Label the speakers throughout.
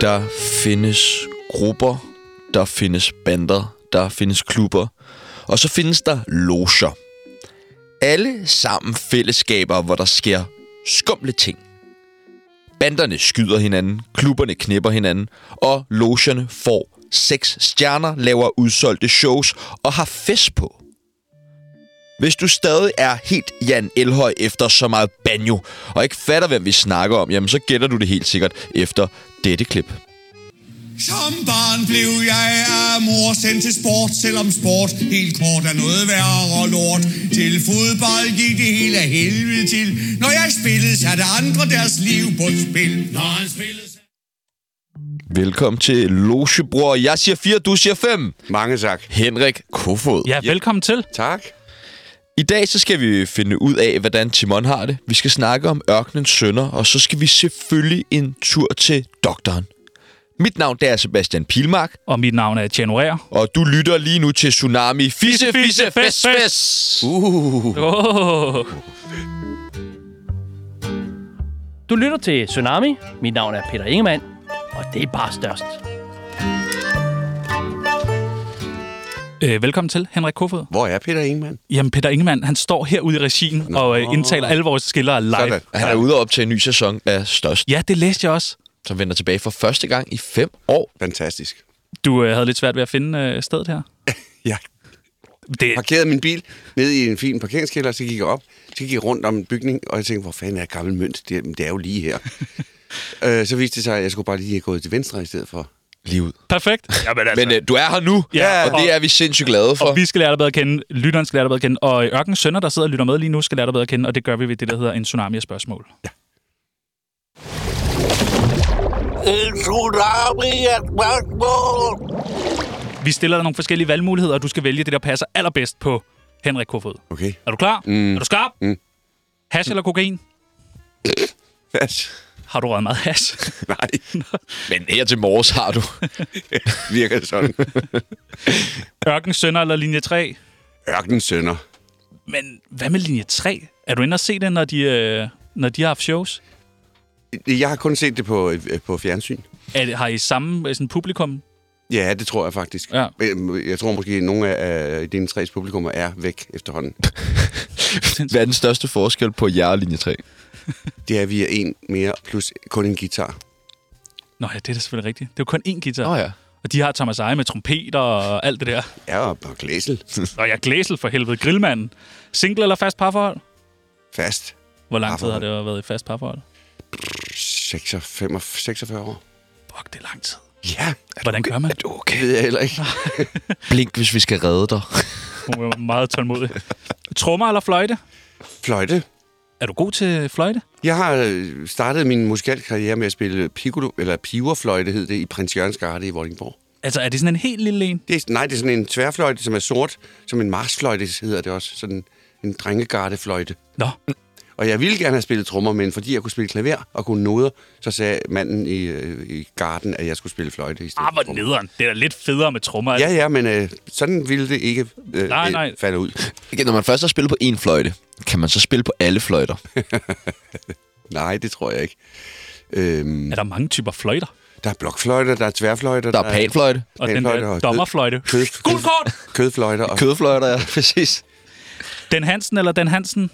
Speaker 1: Der findes grupper, der findes bander, der findes klubber, og så findes der loger. Alle sammen fællesskaber, hvor der sker skumle ting. Banderne skyder hinanden, klubberne knipper hinanden, og logerne får seks stjerner, laver udsolgte shows og har fest på. Hvis du stadig er helt Jan Elhøj efter så meget banjo, og ikke fatter, hvem vi snakker om, jamen så gætter du det helt sikkert efter dette klip.
Speaker 2: Som barn blev jeg af mor sendt til sport, selvom sport helt kort er noget værre lort. Til fodbold gik det hele af helvede til. Når jeg spillede, satte andre deres liv på spil. Når han spillede...
Speaker 1: Velkommen til Logebror. Jeg siger 4, du siger 5.
Speaker 3: Mange tak.
Speaker 1: Henrik Kofod.
Speaker 4: Ja, velkommen til.
Speaker 3: Tak.
Speaker 1: I dag så skal vi finde ud af, hvordan Timon har det. Vi skal snakke om ørkenens sønder, og så skal vi selvfølgelig en tur til doktoren. Mit navn det er Sebastian Pilmark,
Speaker 4: Og mit navn er Tjano Rær.
Speaker 1: og du lytter lige nu til Tsunami Fisse Fisse Fes Fes.
Speaker 4: Uh. Oh.
Speaker 5: Du lytter til Tsunami. Mit navn er Peter Ingemann, og det er bare størst.
Speaker 4: Øh, velkommen til, Henrik Kofod.
Speaker 3: Hvor er Peter Ingemann?
Speaker 4: Jamen, Peter Ingemann, han står herude i regien Nå. og øh, indtaler alle vores skiller live.
Speaker 3: Sådan.
Speaker 1: Han er ude og optage en ny sæson af Størst,
Speaker 4: Ja, det læste jeg også.
Speaker 1: som vender tilbage for første gang i fem år.
Speaker 3: Fantastisk.
Speaker 4: Du øh, havde lidt svært ved at finde øh, stedet her.
Speaker 3: Jeg
Speaker 4: Det,
Speaker 3: parkerede min bil ned i en fin parkeringskælder, så gik jeg op, så gik jeg rundt om en bygning, og jeg tænkte, hvor fanden er gammel mønt? Det, er- men det er jo lige her. øh, så viste det sig, at jeg skulle bare lige have gået til venstre i stedet for.
Speaker 1: Lige ud.
Speaker 4: perfekt. Jamen, altså.
Speaker 1: Men øh, du er her nu,
Speaker 4: Ja,
Speaker 1: og det er vi sindssygt glade for.
Speaker 4: Og vi skal lære dig bedre at kende, lytteren skal lære dig bedre at kende, og Ørken Sønder, der sidder og lytter med lige nu, skal lære dig bedre at kende, og det gør vi ved det, der hedder en tsunami af spørgsmål.
Speaker 6: En tsunami af spørgsmål.
Speaker 4: Vi stiller dig nogle forskellige valgmuligheder, og du skal vælge det, der passer allerbedst på Henrik Kofod.
Speaker 3: Okay.
Speaker 4: Er du klar? Mm. Er du skarp?
Speaker 3: Mm.
Speaker 4: Hash eller kokain?
Speaker 3: Altså,
Speaker 4: Har du røget meget hash?
Speaker 3: nej,
Speaker 1: Men her til morges har du.
Speaker 3: virker det sådan.
Speaker 4: Ørken Sønder eller linje 3?
Speaker 3: Ørkens sønder.
Speaker 4: Men hvad med linje 3? Er du inde og se det, når de, øh, når de har haft shows?
Speaker 3: Jeg har kun set det på, øh, på fjernsyn.
Speaker 4: Er, det- har I samme øh, sådan, publikum?
Speaker 3: Ja, det tror jeg faktisk.
Speaker 4: Ja.
Speaker 3: Øh, Jeg tror måske, at nogle af øh, dine tre publikummer er væk efterhånden.
Speaker 1: Hvad er den største forskel på jer og linje 3?
Speaker 3: Det er, at vi er en mere, plus kun en guitar.
Speaker 4: Nå ja, det er da selvfølgelig rigtigt. Det er jo kun én guitar.
Speaker 1: Nå ja.
Speaker 4: Og de har Thomas Eje med trompeter og alt det der.
Speaker 3: Ja, og og glæsel.
Speaker 4: Og jeg glæsel for helvede. Grillmanden. Single eller fast parforhold?
Speaker 3: Fast.
Speaker 4: Hvor lang tid har
Speaker 3: Parforhold.
Speaker 4: det været i fast parforhold?
Speaker 3: 46, 46 år.
Speaker 4: Fuck, det er lang tid.
Speaker 3: Ja,
Speaker 4: Hvordan gør man?
Speaker 3: er du okay? Det ved jeg heller ikke.
Speaker 1: Blink, hvis vi skal redde dig.
Speaker 4: Hun er meget tålmodig. Trommer eller fløjte?
Speaker 3: Fløjte.
Speaker 4: Er du god til fløjte?
Speaker 3: Jeg har øh, startet min musikalske karriere med at spille piccolo, eller piverfløjte hed det, i Prins Jørgens Garde i Vordingborg.
Speaker 4: Altså, er det sådan en helt lille en?
Speaker 3: Det er, nej, det er sådan en tværfløjte, som er sort, som en marsfløjte hedder det også. Sådan en drengegardefløjte.
Speaker 4: Nå,
Speaker 3: Og jeg ville gerne have spillet trommer, men fordi jeg kunne spille klaver og kunne noder, så sagde manden i, øh, i garden, at jeg skulle spille fløjte i stedet
Speaker 4: ah,
Speaker 3: for
Speaker 4: hvor
Speaker 3: trommer.
Speaker 4: nederen. Det er da lidt federe med trommer.
Speaker 3: Ja, ja, men øh, sådan ville det ikke øh,
Speaker 4: Nej,
Speaker 3: øh,
Speaker 4: nej.
Speaker 3: falde ud.
Speaker 1: Igen, Når man først har spillet på én fløjte, kan man så spille på alle fløjter.
Speaker 3: Nej, det tror jeg ikke. Øhm,
Speaker 4: Er der mange typer fløjter?
Speaker 3: der er blokfløjter, der er tværfløjter,
Speaker 1: Der er panfløjte,
Speaker 4: Og den
Speaker 3: Panfløjte
Speaker 4: der
Speaker 3: og
Speaker 4: dommerfløjte.
Speaker 3: kød- kød-
Speaker 4: Gult kort!
Speaker 3: kødfløjter og
Speaker 1: kødfløjter, ja, præcis.
Speaker 4: Den Hansen eller Den Hansen?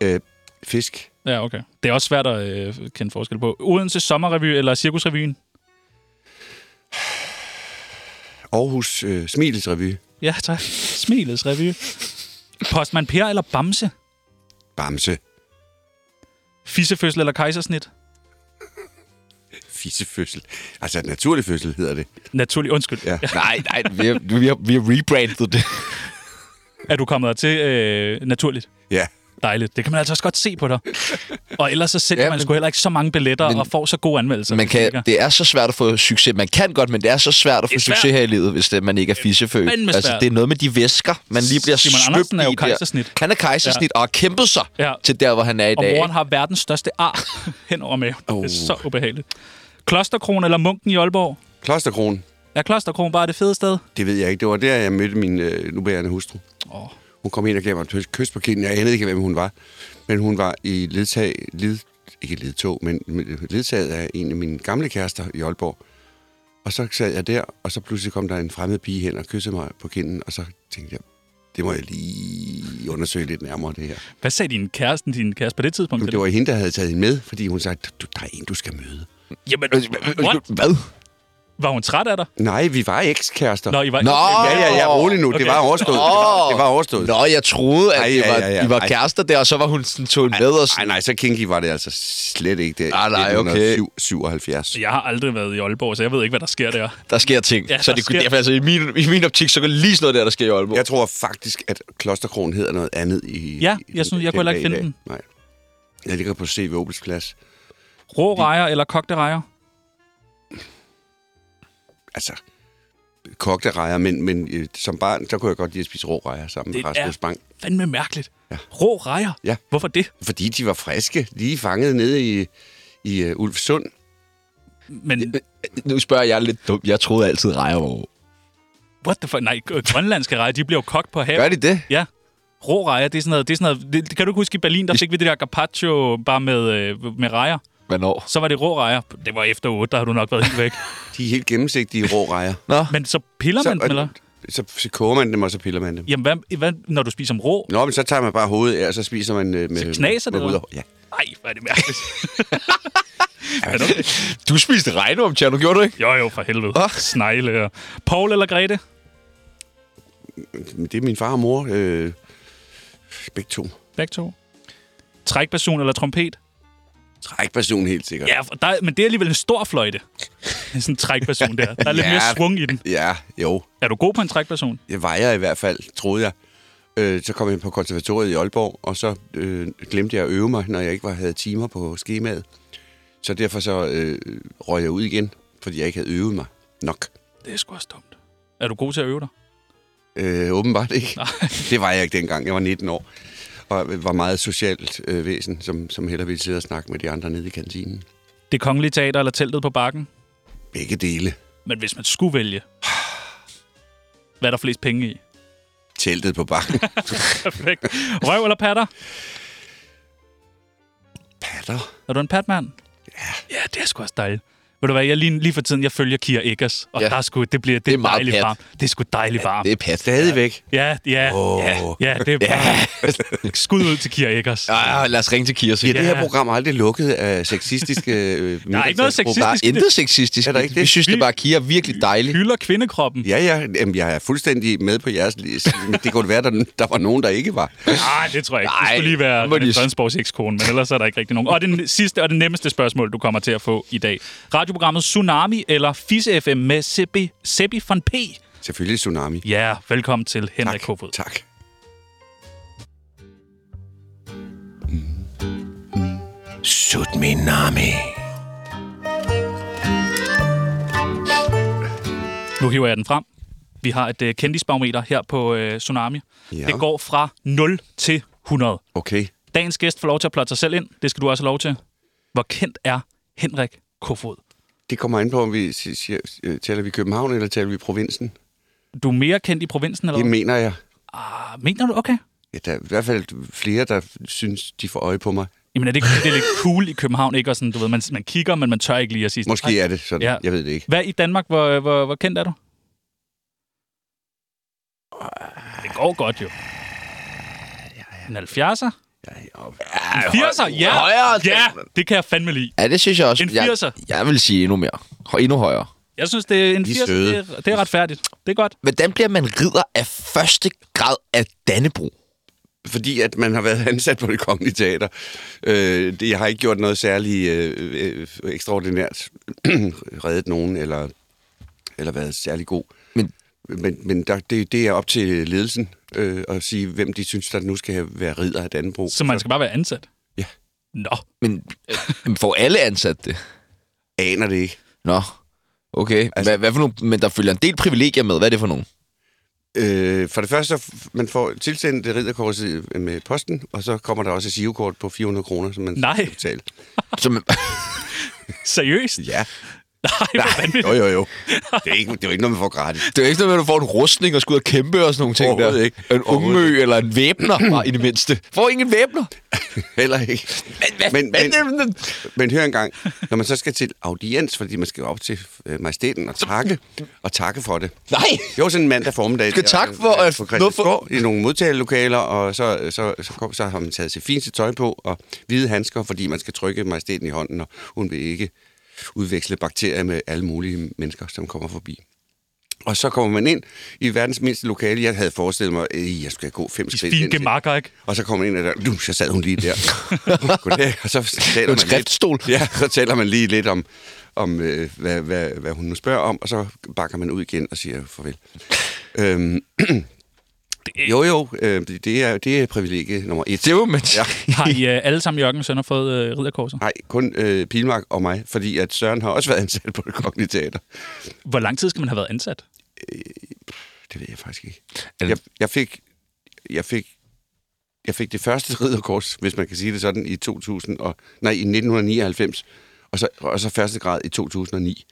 Speaker 3: øh, fisk.
Speaker 4: Ja, okay. Det er også svært at øh, kende forskel på. Odense Sommerrevy eller Cirkusrevyen?
Speaker 3: Aarhus øh, Smiles Revy.
Speaker 4: Ja, tak. Smilets revy. Postman Per eller Bamse?
Speaker 3: Bamse.
Speaker 4: Fissefødsel eller kejsersnit?
Speaker 3: Fissefødsel. Altså naturlig fødsel hedder det.
Speaker 4: Naturlig undskyld.
Speaker 3: Ja.
Speaker 1: Nej, nej, vi har, vi har, vi har rebrandet det.
Speaker 4: Er du kommet til øh, naturligt?
Speaker 3: Ja.
Speaker 4: Dejligt. Det kan man altså også godt se på dig. Og ellers så sælger
Speaker 1: Ja,
Speaker 4: ja, man
Speaker 1: men-
Speaker 4: sgu heller ikke så mange billetter
Speaker 1: men-
Speaker 4: og får så gode anmeldelser.
Speaker 1: Man
Speaker 4: hvis det
Speaker 1: kan,
Speaker 4: ikke er-
Speaker 1: det er så svært at få succes. Man kan godt, men det er så svært at
Speaker 4: Det
Speaker 1: få
Speaker 4: er svært.
Speaker 1: succes her i livet, hvis det, man ikke er fiseføg.
Speaker 4: Fandme
Speaker 1: Altså,
Speaker 4: svært.
Speaker 1: det er noget med de væsker, man lige bliver
Speaker 4: Simon
Speaker 1: svøbt
Speaker 4: Andersen er jo
Speaker 1: i der.
Speaker 4: kejsersnit.
Speaker 1: Han er kejsersnit og har kæmpet sig
Speaker 4: Ja.
Speaker 1: til der, hvor han er i
Speaker 4: Og
Speaker 1: dag.
Speaker 4: moren har verdens største ar hen over maven. Oh. Det er så ubehageligt. Klosterkron eller Munken i Aalborg?
Speaker 3: Klosterkronen.
Speaker 4: Er Klosterkron bare det fede sted?
Speaker 3: Det ved jeg ikke. Det var der, jeg mødte min øh, nuværende hustru.
Speaker 4: Åh.
Speaker 3: Hun kom ind og gav mig et kys- kys på kinden. Jeg anede ikke, hvem hun var. Men hun var i ledtag, led, ikke ledtog, men ledsaget af en af mine gamle kærester i Aalborg. Og så sad jeg der, og så pludselig kom der en fremmed pige hen og kyssede mig på kinden, og så tænkte jeg, det må jeg lige undersøge lidt nærmere, det her.
Speaker 4: Hvad sagde din kæreste, din kæreste på det tidspunkt?
Speaker 3: Jamen, det var hende, der havde taget hende med, fordi hun sagde, du, der er en, du skal møde.
Speaker 4: Jamen, what?
Speaker 1: Øh, Hvad?
Speaker 4: Var hun træt af dig?
Speaker 3: Nej, vi var ekskærester.
Speaker 4: Nå, I var...
Speaker 1: Nå!
Speaker 3: Ja, ja, ja, rolig nu. Okay.
Speaker 4: Okay.
Speaker 3: Det var overstået. Det var, det var overstået.
Speaker 1: Nå, jeg troede, at
Speaker 3: Ej,
Speaker 1: I
Speaker 3: ja,
Speaker 1: var,
Speaker 3: ja, ja.
Speaker 1: I var
Speaker 3: Ej.
Speaker 1: kærester der, og så var hun sådan, tog en med og
Speaker 3: Nej,
Speaker 1: sådan,
Speaker 3: nej, så kinky var det altså slet ikke det.
Speaker 1: Ah, nej, okay.
Speaker 3: 77.
Speaker 4: Altså, Jeg har aldrig været i Aalborg, så jeg ved ikke, hvad der sker der.
Speaker 1: der sker ting.
Speaker 4: Ja,
Speaker 1: så
Speaker 4: der
Speaker 1: det,
Speaker 4: sker-
Speaker 1: derfor, altså, i, min, i min optik, så kan lige sådan noget der, der sker i Aalborg.
Speaker 3: Jeg tror faktisk, at Klosterkronen hedder noget andet i...
Speaker 4: Ja,
Speaker 3: i-
Speaker 4: jeg synes- jeg
Speaker 3: den
Speaker 4: kunne heller ikke
Speaker 3: dag i
Speaker 4: finde
Speaker 3: dag. Nej. Jeg ligger på C. Obels Plads.
Speaker 4: Rå rejer eller kogte rejer?
Speaker 3: Altså, kogte rejer, men, men øh, som barn, så kunne jeg godt lide at spise rå rejer sammen med
Speaker 4: Det
Speaker 3: Rasmus
Speaker 4: er-
Speaker 3: Bang.
Speaker 4: Fandme mærkeligt. Ja. Rå rejer?
Speaker 3: Ja.
Speaker 4: Hvorfor det?
Speaker 3: Fordi de var friske, lige fanget nede i, i uh, Ulfsund.
Speaker 4: Men
Speaker 1: Nu spørger jeg lidt dumt. Jeg troede altid rejer var rå.
Speaker 4: what the fuck? Nej, grønlandske rejer, de bliver jo kogt på havet.
Speaker 1: Gør de det?
Speaker 4: Ja. Rå rejer, det er sådan noget... Det er sådan noget det, kan du ikke huske i Berlin, der fik vi det der gazpacho bare med, øh, med rejer?
Speaker 1: Hvornår?
Speaker 4: Så var det rå rejer. Det var efter 8, der har du nok været helt væk.
Speaker 3: De er helt gennemsigtige rå rejer.
Speaker 1: Nå,
Speaker 4: Men så piller man dem, eller?
Speaker 3: så, så koger man dem, og så piller man dem.
Speaker 4: Jamen, hvad, hvad, når du spiser som rå?
Speaker 3: Nå, men så tager man bare hovedet af, og så spiser man øh, med...
Speaker 4: Så knaser
Speaker 3: med
Speaker 4: det,
Speaker 3: hud og
Speaker 4: eller?
Speaker 3: hår. Ja.
Speaker 4: Nej, hvor er det mærkeligt.
Speaker 1: du spiste regnorm, nu gjorde du ikke?
Speaker 4: Jo, jo, for helvede.
Speaker 1: Åh.
Speaker 4: Oh. Snegle. og- Paul eller Grete?
Speaker 3: Men Det er min far og mor. Øh, begge to.
Speaker 4: Begge to. Trækperson eller trompet?
Speaker 3: Trækperson helt sikkert.
Speaker 4: Ja, for der, er- men det er alligevel en stor fløjte. Sådan en trækperson der. Der er lidt
Speaker 3: Ja.
Speaker 4: mere svung i den.
Speaker 3: Ja, jo.
Speaker 4: Er du god på en trækperson?
Speaker 3: Det var jeg i hvert fald, troede jeg. Øh, så kom jeg på konservatoriet i Aalborg, og så øh, glemte jeg at øve mig, når jeg ikke var, havde timer på skemaet. Så derfor så øh, røg jeg ud igen, fordi jeg ikke havde øvet mig nok.
Speaker 4: Det er sgu også dumt. Er du god til at øve dig?
Speaker 3: Øh, åbenbart ikke. Nej. Det var jeg ikke dengang. Jeg var 19 år. Og var meget socialt øh, væsen, som, som hellere ville sidde og snakke med de andre nede i kantinen.
Speaker 4: Det kongelige teater eller teltet på bakken?
Speaker 3: Begge dele.
Speaker 4: Men hvis man skulle vælge, hvad er der flest penge i?
Speaker 3: Teltet på bakken.
Speaker 4: Perfekt. Røv eller patter?
Speaker 3: Patter.
Speaker 4: Er du en patmand? Ja. Ja, det er sgu også dejligt. Ved du hvad, jeg lige, lige for tiden, jeg følger Kia Eggers, og
Speaker 1: Ja.
Speaker 4: ja. der er sgu, det bliver det, det er
Speaker 1: meget
Speaker 4: dejligt
Speaker 1: pat.
Speaker 4: varmt. Det er sgu dejligt varmt.
Speaker 1: Det er pat.
Speaker 3: Stadigvæk.
Speaker 4: Ja, ja,
Speaker 3: Åh.
Speaker 4: oh. ja, ja, det er bare skud ud til Kia Eggers.
Speaker 1: Ja, ja, lad os ringe til Kias.
Speaker 3: Bliver ja. det her program aldrig lukket af sexistiske... Øh,
Speaker 4: Der er ikke noget
Speaker 1: Der
Speaker 4: sexistisk
Speaker 1: er
Speaker 4: i det.
Speaker 1: intet sexistisk.
Speaker 3: Er der ikke det?
Speaker 1: Vi synes, det er bare Kia er virkelig dejligt.
Speaker 4: Hylder kvindekroppen.
Speaker 3: Ja, ja. Jamen, jeg er fuldstændig med på jeres liste, men det kunne være, der, der var nogen, der ikke var.
Speaker 4: Nej, det tror jeg ikke.
Speaker 1: Nej,
Speaker 4: Det skulle lige være
Speaker 1: må de-
Speaker 4: René Fredensborgs ekskone, men ellers er der ikke rigtig nogen. Og det n- sidste og det nemmeste spørgsmål, du kommer til at få i dag. Radioprogrammet Tsunami eller Fisse FM med Seppi, Seppi von P.
Speaker 3: Selvfølgelig Tsunami.
Speaker 4: Ja, velkommen til Henrik
Speaker 3: tak.
Speaker 4: Kofod.
Speaker 3: tak.
Speaker 6: Sut min nami.
Speaker 4: Nu hiver jeg den frem. Vi har et uh, kendisbarometer her på uh, Tsunami.
Speaker 3: Ja.
Speaker 4: Ja. Det går fra 0 til 100.
Speaker 3: Okay.
Speaker 4: Dagens gæst får lov til at plotte sig selv ind. Det skal du også have lov til. Hvor kendt er Henrik Kofod?
Speaker 3: Det kommer an på, om vi si- siger, øh, taler vi København, eller taler vi provinsen.
Speaker 4: Du er mere kendt i provinsen, eller
Speaker 3: Det
Speaker 4: hvad?
Speaker 3: mener jeg.
Speaker 4: Ah, Mener du? Okay.
Speaker 3: Ja, der er i hvert fald flere, der synes, de får øje på mig.
Speaker 4: Jamen er det, ikke, det er lidt cool i København, ikke? Og sådan, du ved, man, man kigger, men man tør ikke lige at sige sådan,
Speaker 3: Måske
Speaker 4: "Ej."
Speaker 3: er det sådan.
Speaker 4: Ja.
Speaker 3: Jeg ved det ikke.
Speaker 4: Hvad i Danmark? Hvor, hvor, hvor kendt er du? Det går godt jo. En 70'er? En 80'er? Ja.
Speaker 1: højere.
Speaker 4: ja, det kan jeg fandme lide.
Speaker 1: Ja, det synes jeg også.
Speaker 4: En
Speaker 1: jeg,
Speaker 4: 80'er.
Speaker 1: jeg vil sige endnu mere. Og endnu højere.
Speaker 4: Jeg synes, det er en
Speaker 3: De er
Speaker 4: 80'er.
Speaker 3: søde.
Speaker 4: Det er, det er retfærdigt. Det er godt.
Speaker 1: Hvordan bliver man ridder af første grad af Dannebro?
Speaker 3: Fordi at man har været ansat på det kongelige teater. Øh, det, jeg har ikke gjort noget særligt øh, øh, ekstraordinært. Reddet nogen, eller, eller været særlig god.
Speaker 1: Men-
Speaker 3: men, men der, det, det er op til ledelsen øh, at sige, hvem de synes, der nu skal have- være ridder af Dannebro.
Speaker 4: Så man skal bare være ansat?
Speaker 3: Ja.
Speaker 4: Nå,
Speaker 1: Men øh, får alle ansat det?
Speaker 3: aner det ikke.
Speaker 1: Nå, okay. Altså, hvad, hvad for nogle, men der følger en del privilegier med. Hvad er det for nogle?
Speaker 3: Øh, for det første, så f- man får tilsendt ridderkorset med posten, og så kommer der også et girokort på 400 kroner, som man
Speaker 4: Nej.
Speaker 3: skal betale.
Speaker 1: Som,
Speaker 4: seriøst?
Speaker 3: Ja,
Speaker 4: Nej, hvor vanvittigt.
Speaker 3: jo jo jo. Det er ikke, det er jo ikke noget, man får gratis.
Speaker 1: det er jo ikke sådan, noget med, at du får en rustning og skal ud og kæmpe og sådan nogle ting der.
Speaker 3: Overhovedet ikke.
Speaker 1: En ungø eller en væbner, bare i det mindste. Får ingen væbner?
Speaker 3: Heller ikke. Men, hvad, men, men, men, men hør engang, når man så skal til audiens, fordi man skal op til øh, majestæten og takke, og takke for det.
Speaker 1: Nej!
Speaker 3: Jo, sådan en mandag formiddag.
Speaker 1: Skal
Speaker 3: der,
Speaker 1: takke for,
Speaker 3: øh,
Speaker 1: at-
Speaker 3: på
Speaker 1: noget for-
Speaker 3: Christiansborg, i nogle modtagelokaler, og så, øh, så, så, kom, så har man taget sit fineste tøj på, og hvide handsker, fordi man skal trykke majestæten i hånden, og hun vil ikke udveksle bakterier med alle mulige mennesker, som kommer forbi. Og så kommer man ind i verdens mindste lokale. Jeg havde forestillet mig, at jeg skulle gå fem skridt
Speaker 4: Fine
Speaker 3: ind til-
Speaker 4: gemakker, ikke?
Speaker 3: og så kommer man ind, og der, nu, så sad hun lige der. Goddag. Og så taler
Speaker 1: en
Speaker 3: man
Speaker 1: skriftstol.
Speaker 3: Lidt, ja, så taler man lige lidt om, om øh, hvad, hvad, hvad hun nu spørger om, og så bakker man ud igen og siger farvel. øhm, jo, jo, øh, det- det, er, det er privilegie nummer et.
Speaker 1: Det var man ja.
Speaker 3: Ja.
Speaker 4: Har I øh, alle sammen i Jørgen Sønder fået øh, ridderkorset?
Speaker 3: Nej, kun øh, Pilmark og mig, fordi at Søren har også været ansat på det kongelige teater.
Speaker 4: Hvor lang tid skal man have været ansat?
Speaker 3: Det ved jeg faktisk ikke.
Speaker 1: Er det-
Speaker 3: Jeg, jeg fik... Jeg fik jeg fik det første ridderkors, hvis man kan sige det sådan, i 2000 og, nej, i 1999, og så, og så første grad i 2009.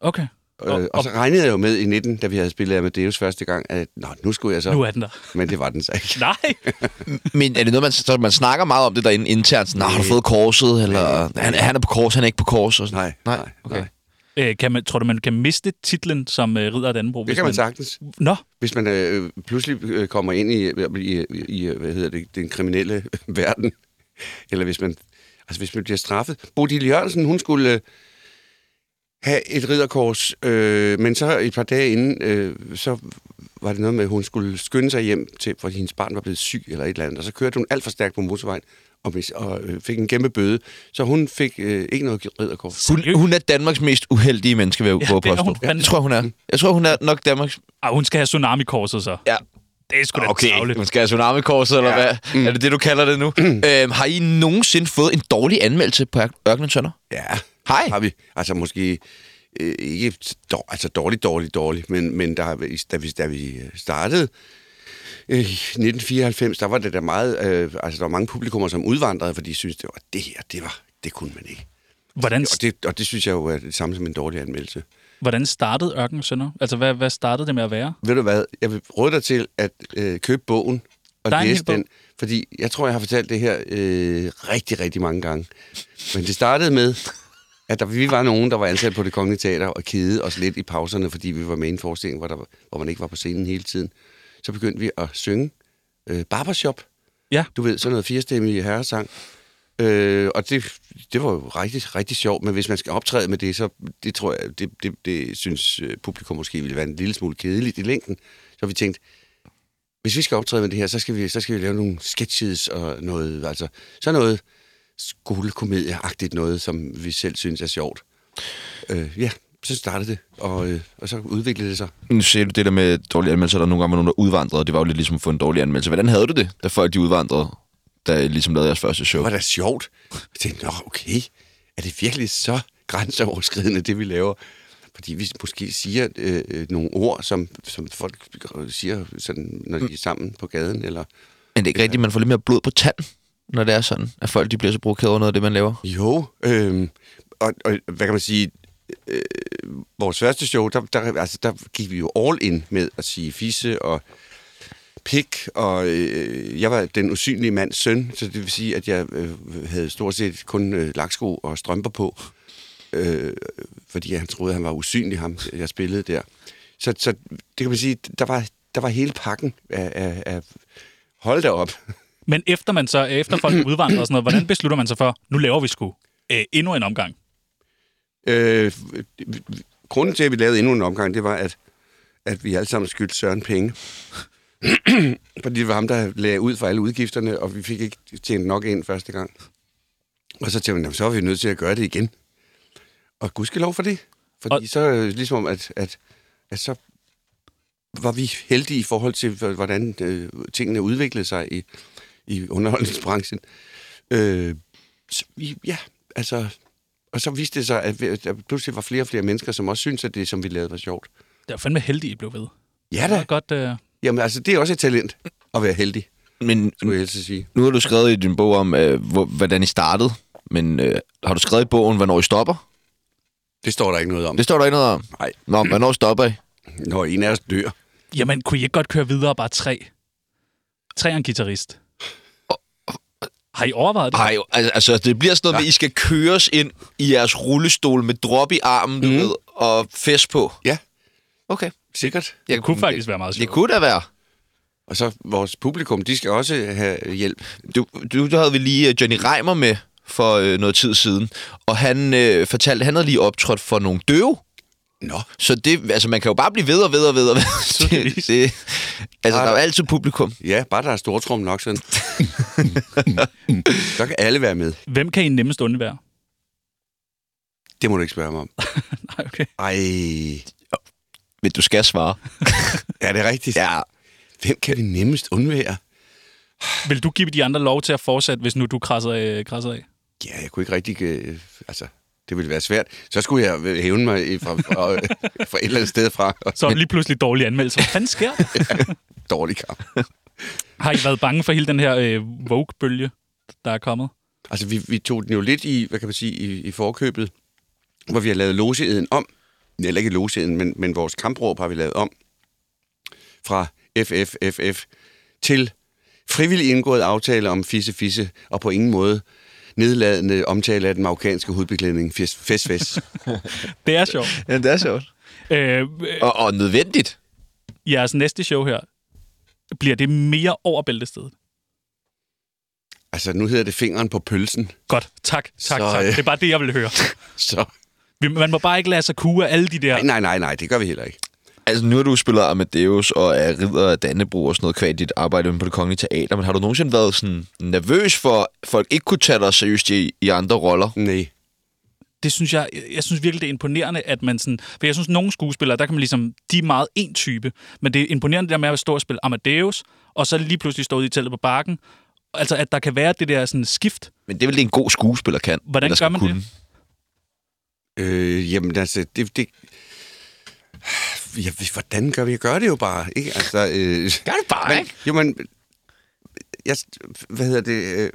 Speaker 4: Okay.
Speaker 3: Og, øh, og så regnede jeg jo med i 19, da vi havde spillet Amadeus første gang, at nå, nu skulle jeg så,
Speaker 4: Nu er den der.
Speaker 3: men det var den så ikke.
Speaker 4: Nej!
Speaker 1: Men er det noget, man, så man snakker meget om det derinde internt? Sådan, "Nå, har du fået korset? Eller, han, han er på kors, han er ikke på kors? Og sådan.
Speaker 3: Nej,
Speaker 1: nej,
Speaker 3: nej,
Speaker 1: okay.
Speaker 3: nej.
Speaker 4: Øh, kan man, tror du, man kan miste titlen som øh, ridder af Dannebro?
Speaker 3: Det
Speaker 4: hvis
Speaker 3: kan man sagtens.
Speaker 4: Nå,
Speaker 3: Hvis man øh, pludselig øh, kommer ind i, i, i, hvad hedder det, den kriminelle verden, eller hvis man, altså hvis man bliver straffet. Bodil Jørgensen, hun skulle øh, have et ridderkors, øh, men så et par dage inden, øh, så var det noget med, at hun skulle skynde sig hjem, til, fordi hendes barn var blevet syg eller et eller andet, og så kørte hun alt for stærkt på motorvejen, og, mis, og øh, fik en kæmpe bøde, så hun fik øh, ikke noget ridderkors.
Speaker 1: Hun, hun er Danmarks mest uheldige menneske, vil jeg
Speaker 4: Ja,
Speaker 1: ja, våge
Speaker 4: det er
Speaker 1: påstå.
Speaker 4: hun fandme.
Speaker 1: Det tror jeg, hun er.
Speaker 3: Mm.
Speaker 1: Jeg tror, hun er nok Danmarks...
Speaker 4: ah, hun skal have tsunami-korset så.
Speaker 1: Ja.
Speaker 4: Det er sgu da okay.
Speaker 1: Okay, hun skal have tsunami-korset, eller hvad? Mm. Er det det, du kalder det nu? øhm, har I nogensinde fået en dårlig anmeldelse på Ør- Ørkenen Sønder?
Speaker 3: Ja.
Speaker 1: Hej.
Speaker 3: har vi. Altså måske øh, ikke dår, altså dårligt, dårligt, dårligt, men, men der, da, vi, da vi startede øh, i 1994, der var det der meget, øh, altså der var mange publikummer, som udvandrede, fordi de syntes, det var det her, det var, det kunne man ikke.
Speaker 4: Hvordan,
Speaker 3: Og det, og det synes jeg jo er det samme som en dårlig anmeldelse.
Speaker 4: hvordan startede Ørken Sønder? Altså, hvad, hvad startede det med at være?
Speaker 3: Ved du hvad, jeg vil råde dig til at øh, købe bogen og
Speaker 4: Der er en hel
Speaker 3: læse
Speaker 4: bog.
Speaker 3: den, fordi jeg tror, jeg har fortalt det her øh, rigtig, rigtig mange gange. Men det startede med, at der, vi var nogen, der var ansat på det kongelige teater og kede os lidt i pauserne, fordi vi var med i en forestilling, hvor, der, var- hvor man ikke var på scenen hele tiden. Så begyndte vi at synge øh, barbershop.
Speaker 4: Ja.
Speaker 3: Du ved, sådan noget firestemmig herresang. Øh, og det, det var jo rigtig, rigtig sjovt, men hvis man skal optræde med det, så det tror jeg, det, det, det synes øh, publikum måske ville være en lille smule kedeligt i længden. Så vi tænkte, hvis vi skal optræde med det her, så skal vi, så skal vi lave nogle sketches og noget, altså sådan noget skolekomedieagtigt noget, som vi selv synes er sjovt. Øh, ja, så startede det, og, øh, og så udviklede det sig.
Speaker 1: Nu ser du det der med dårlige anmeldelser, der nogle gange var nogen, der udvandrede, og det var jo lidt ligesom at få en dårlig anmeldelse. Hvordan havde du det, da folk de udvandrede, da I ligesom lavede jeres første show?
Speaker 3: Det var da sjovt. Jeg tænkte, nå okay, er det virkelig så grænseoverskridende, det vi laver? Fordi vi måske siger øh, øh, nogle ord, som, som folk siger, sådan, når de er sammen på gaden. Eller...
Speaker 1: Men det er ikke rigtigt, man får lidt mere blod på tanden, når det er sådan, at folk de bliver så provokeret over noget af det, man laver.
Speaker 3: Jo, øh, og, og hvad kan man sige... Øh, vores første show, der, der, altså, der gik vi jo all in med at sige fisse og pik, og øh, jeg var den usynlige mands søn, så det vil sige, at jeg øh, havde stort set kun øh, laksko og strømper på, øh, fordi han troede, han var usynlig, ham jeg spillede der. Så, så det kan man sige, der var, der var hele pakken af, af, af hold da op.
Speaker 4: Men efter man så, efter folk udvandrer og sådan noget, hvordan beslutter man sig for, nu laver vi sgu øh, endnu en omgang?
Speaker 3: Øh, grunden til, at vi lavede endnu en omgang, det var, at, at vi alle sammen skyldte Søren penge. Fordi det var ham, der lagde ud for alle udgifterne, og vi fik ikke tjent nok ind første gang. Og så tænkte vi, "Nå, så er vi nødt til at gøre det igen. Og gudskelov for det. Fordi
Speaker 4: Og-
Speaker 3: og... så øh, ligesom om, at, at, at så var vi heldige i forhold til, h- hvordan øh, tingene udviklede sig i, i underholdningsbranchen. Øh, så, vi- ja, altså... Og så viste det sig, at vi- at der pludselig var flere og flere mennesker, som også syntes, at det, som vi lavede, var sjovt.
Speaker 4: Det er fandme heldig, I blev ved.
Speaker 3: Ja
Speaker 4: Det er
Speaker 3: da.
Speaker 4: godt, øh,
Speaker 3: Jamen altså, det er også et talent at være heldig,
Speaker 1: Men
Speaker 3: skulle jeg helst sige.
Speaker 1: nu har du skrevet i din bog om, øh, hvor, hvordan I startede, men øh, har du skrevet i bogen, hvornår I stopper?
Speaker 3: Det står der ikke noget om.
Speaker 1: Det står der ikke noget om.
Speaker 3: Nej.
Speaker 1: Nå, hvornår stopper I?
Speaker 3: Når en af os dør.
Speaker 4: jamen kunne I ikke godt køre videre bare tre? Tre er en guitarist. Har I overvejet det?
Speaker 1: Nej, al- altså det bliver sådan noget med, at I skal køres ind i jeres rullestol med drop i armen, du ved, og fest på.
Speaker 3: Ja,
Speaker 1: Mhm. Okay.
Speaker 3: sikkert.
Speaker 1: Jeg,
Speaker 4: Det kunne faktisk være meget
Speaker 1: Det
Speaker 4: sjovt.
Speaker 1: kunne da være.
Speaker 3: Og så vores publikum, de skal også have hjælp.
Speaker 1: Du, du, du havde vi lige øh, Johnny Reimer med for øh, noget tid siden, og han øh, fortalte, at han havde lige optrådt for nogle døve.
Speaker 3: Nå.
Speaker 1: Så det, altså man kan jo bare blive ved og ved og ved og ved. Det, det, altså, der er jo altid publikum.
Speaker 3: Ja, bare der er stortrum nok sådan. så kan alle være med.
Speaker 4: Hvem kan I nemmest undvære?
Speaker 3: Det må du ikke spørge mig om.
Speaker 4: Nej, okay.
Speaker 3: Ej,
Speaker 1: Men du skal svare.
Speaker 3: er det rigtigt? Ja. Hvem kan vi nemmest undvære?
Speaker 4: Vil du give de andre lov til at fortsætte, hvis nu du krasser, øh, krasser af?
Speaker 3: Ja, jeg kunne ikke rigtig... Øh, altså, det ville være svært. Så skulle jeg øh, hævne mig øh, fra, fra, øh, fra et eller andet sted fra. Og
Speaker 4: Så er du lige pludselig dårlig anmeldelse. Hvad fanden sker der?
Speaker 3: dårlig kamp.
Speaker 4: Har I været bange for hele den her øh, Vogue-bølge, der er kommet?
Speaker 3: Altså, vi, vi tog den jo lidt i, hvad kan man sige, i, i forkøbet, hvor vi har lavet logeeden om. Eller ikke logeeden, men, men vores kampråb har vi lavet om. Fra FFFF til frivillig indgået aftale om fisse fisse, og på ingen måde nedladende omtale af den marokkanske hovedbeklædning. Fis, fes, fes.
Speaker 4: Det er sjovt.
Speaker 1: Ja, det er sjovt.
Speaker 4: Øh,
Speaker 1: Og, og nødvendigt.
Speaker 4: jeres næste show her, bliver det mere over bæltestedet?
Speaker 3: altså, nu hedder det fingeren på pølsen.
Speaker 4: Godt. Tak, tak,
Speaker 3: Så,
Speaker 4: så, tak.
Speaker 3: øh.
Speaker 4: Det er bare det, jeg vil høre.
Speaker 3: Så
Speaker 4: Vi- Man må bare ikke lade sig kue af alle de der...
Speaker 3: nej, nej, nej, nej, det gør vi heller ikke.
Speaker 1: Altså, nu har du spillet Amadeus og er ridder af Dannebro og sådan noget kvad dit arbejde inde på det kongelige teater, men har du nogensinde været sådan nervøs for, at folk ikke kunne tage dig seriøst i, i andre roller?
Speaker 3: Nej.
Speaker 4: Det synes jeg, jeg synes virkelig, det er imponerende, at man sådan... For jeg synes, nogle skuespillere, der kan man ligesom... De er meget en type, men det er imponerende det der med at stå og spille Amadeus, og så lige pludselig stå ude i teltet på bakken. Altså, at der kan være det der sådan skift.
Speaker 1: Men det er vel det, en god skuespiller kan.
Speaker 4: Hvordan
Speaker 1: eller skal
Speaker 4: gør man
Speaker 1: kunne.
Speaker 4: det?
Speaker 3: Øh, jamen altså, det... det ja, hvordan gør vi? Jeg gør det jo bare, ikke? Altså, øh,
Speaker 1: Gør det bare,
Speaker 3: men, jo, men... Jeg, hvad hedder det? Øh,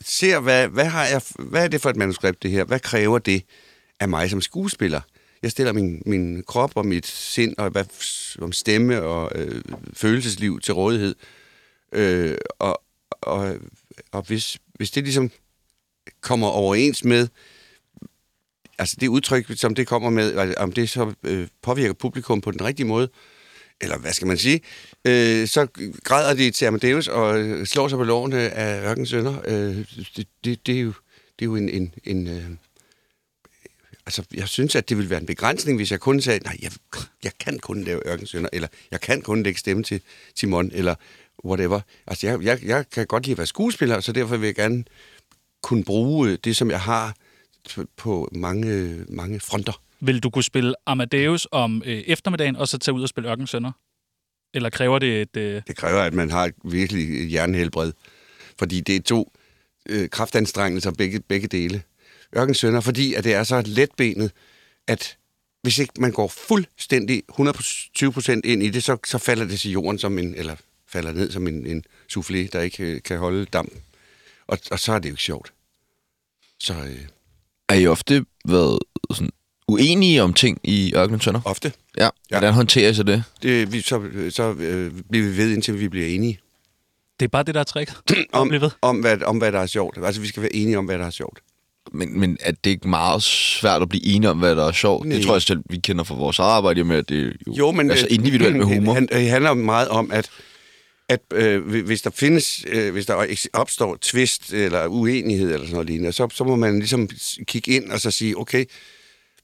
Speaker 3: ser, hvad, hvad, har jeg, hvad er det for et manuskript, det her? Hvad kræver det af mig som skuespiller? Jeg stiller min, min krop og mit sind og hvad, om stemme og øh, følelsesliv til rådighed. Øh, og og, og hvis, hvis det ligesom kommer overens med, altså det udtryk, som det kommer med, altså om det så øh, påvirker publikum på den rigtige måde, eller hvad skal man sige, øh, så græder de til Amadeus og øh, slår sig på lårene af Ørkens Sønder. Øh, det, det, det, er jo, det er jo en... en, en øh, altså, jeg synes, at det ville være en begrænsning, hvis jeg kun sagde, nej, jeg, jeg kan kun lave Ørkens Sønder, eller jeg kan kun lægge stemme til Timon, eller whatever. Altså, jeg, jeg, jeg kan godt lide at være skuespiller, så derfor vil jeg gerne kunne bruge øh, det, som jeg har på- på mange, mange fronter.
Speaker 4: Vil du kunne spille Amadeus om øh, eftermiddagen, og så tage ud og spille Ørkensønder? Eller kræver det et... Øh...
Speaker 3: Det kræver, at man har et virkelig hjernehelbred. Fordi det er to øh, kraftanstrengelser, begge, begge dele. Ørken sønder, fordi at det er så letbenet, at hvis ikke man går fuldstændig 120% ind i det, så, så falder det til jorden som en, eller falder ned som en, en soufflé, der ikke øh, kan holde dampen. Og, og så er det jo ikke sjovt. Så øh,
Speaker 1: Har I ofte været sådan, uenige om ting i Ørkenen Sønder?
Speaker 3: ofte.
Speaker 1: Ja. Hvordan håndterer I så det?
Speaker 3: Det, vi, så så øh, bliver vi ved, indtil vi bliver enige.
Speaker 4: Det er bare det, der er tricket. At blive ved.
Speaker 3: om, hvad, om hvad der er sjovt. Altså, vi skal være enige om, hvad der er sjovt.
Speaker 1: Men, men er det ikke meget svært at blive enige om, hvad der er sjovt?
Speaker 3: Nej.
Speaker 1: Det tror jeg selv, vi kender fra vores arbejde med, at det er jo, altså
Speaker 3: øh,
Speaker 1: individuelt med humor.
Speaker 3: Han, det handler meget om, at, at øh, hvi- hvis der findes, øh, hvis der eks- opstår tvist eller uenighed eller sådan noget lignende, så, så må man ligesom s- kigge ind og så sige, okay,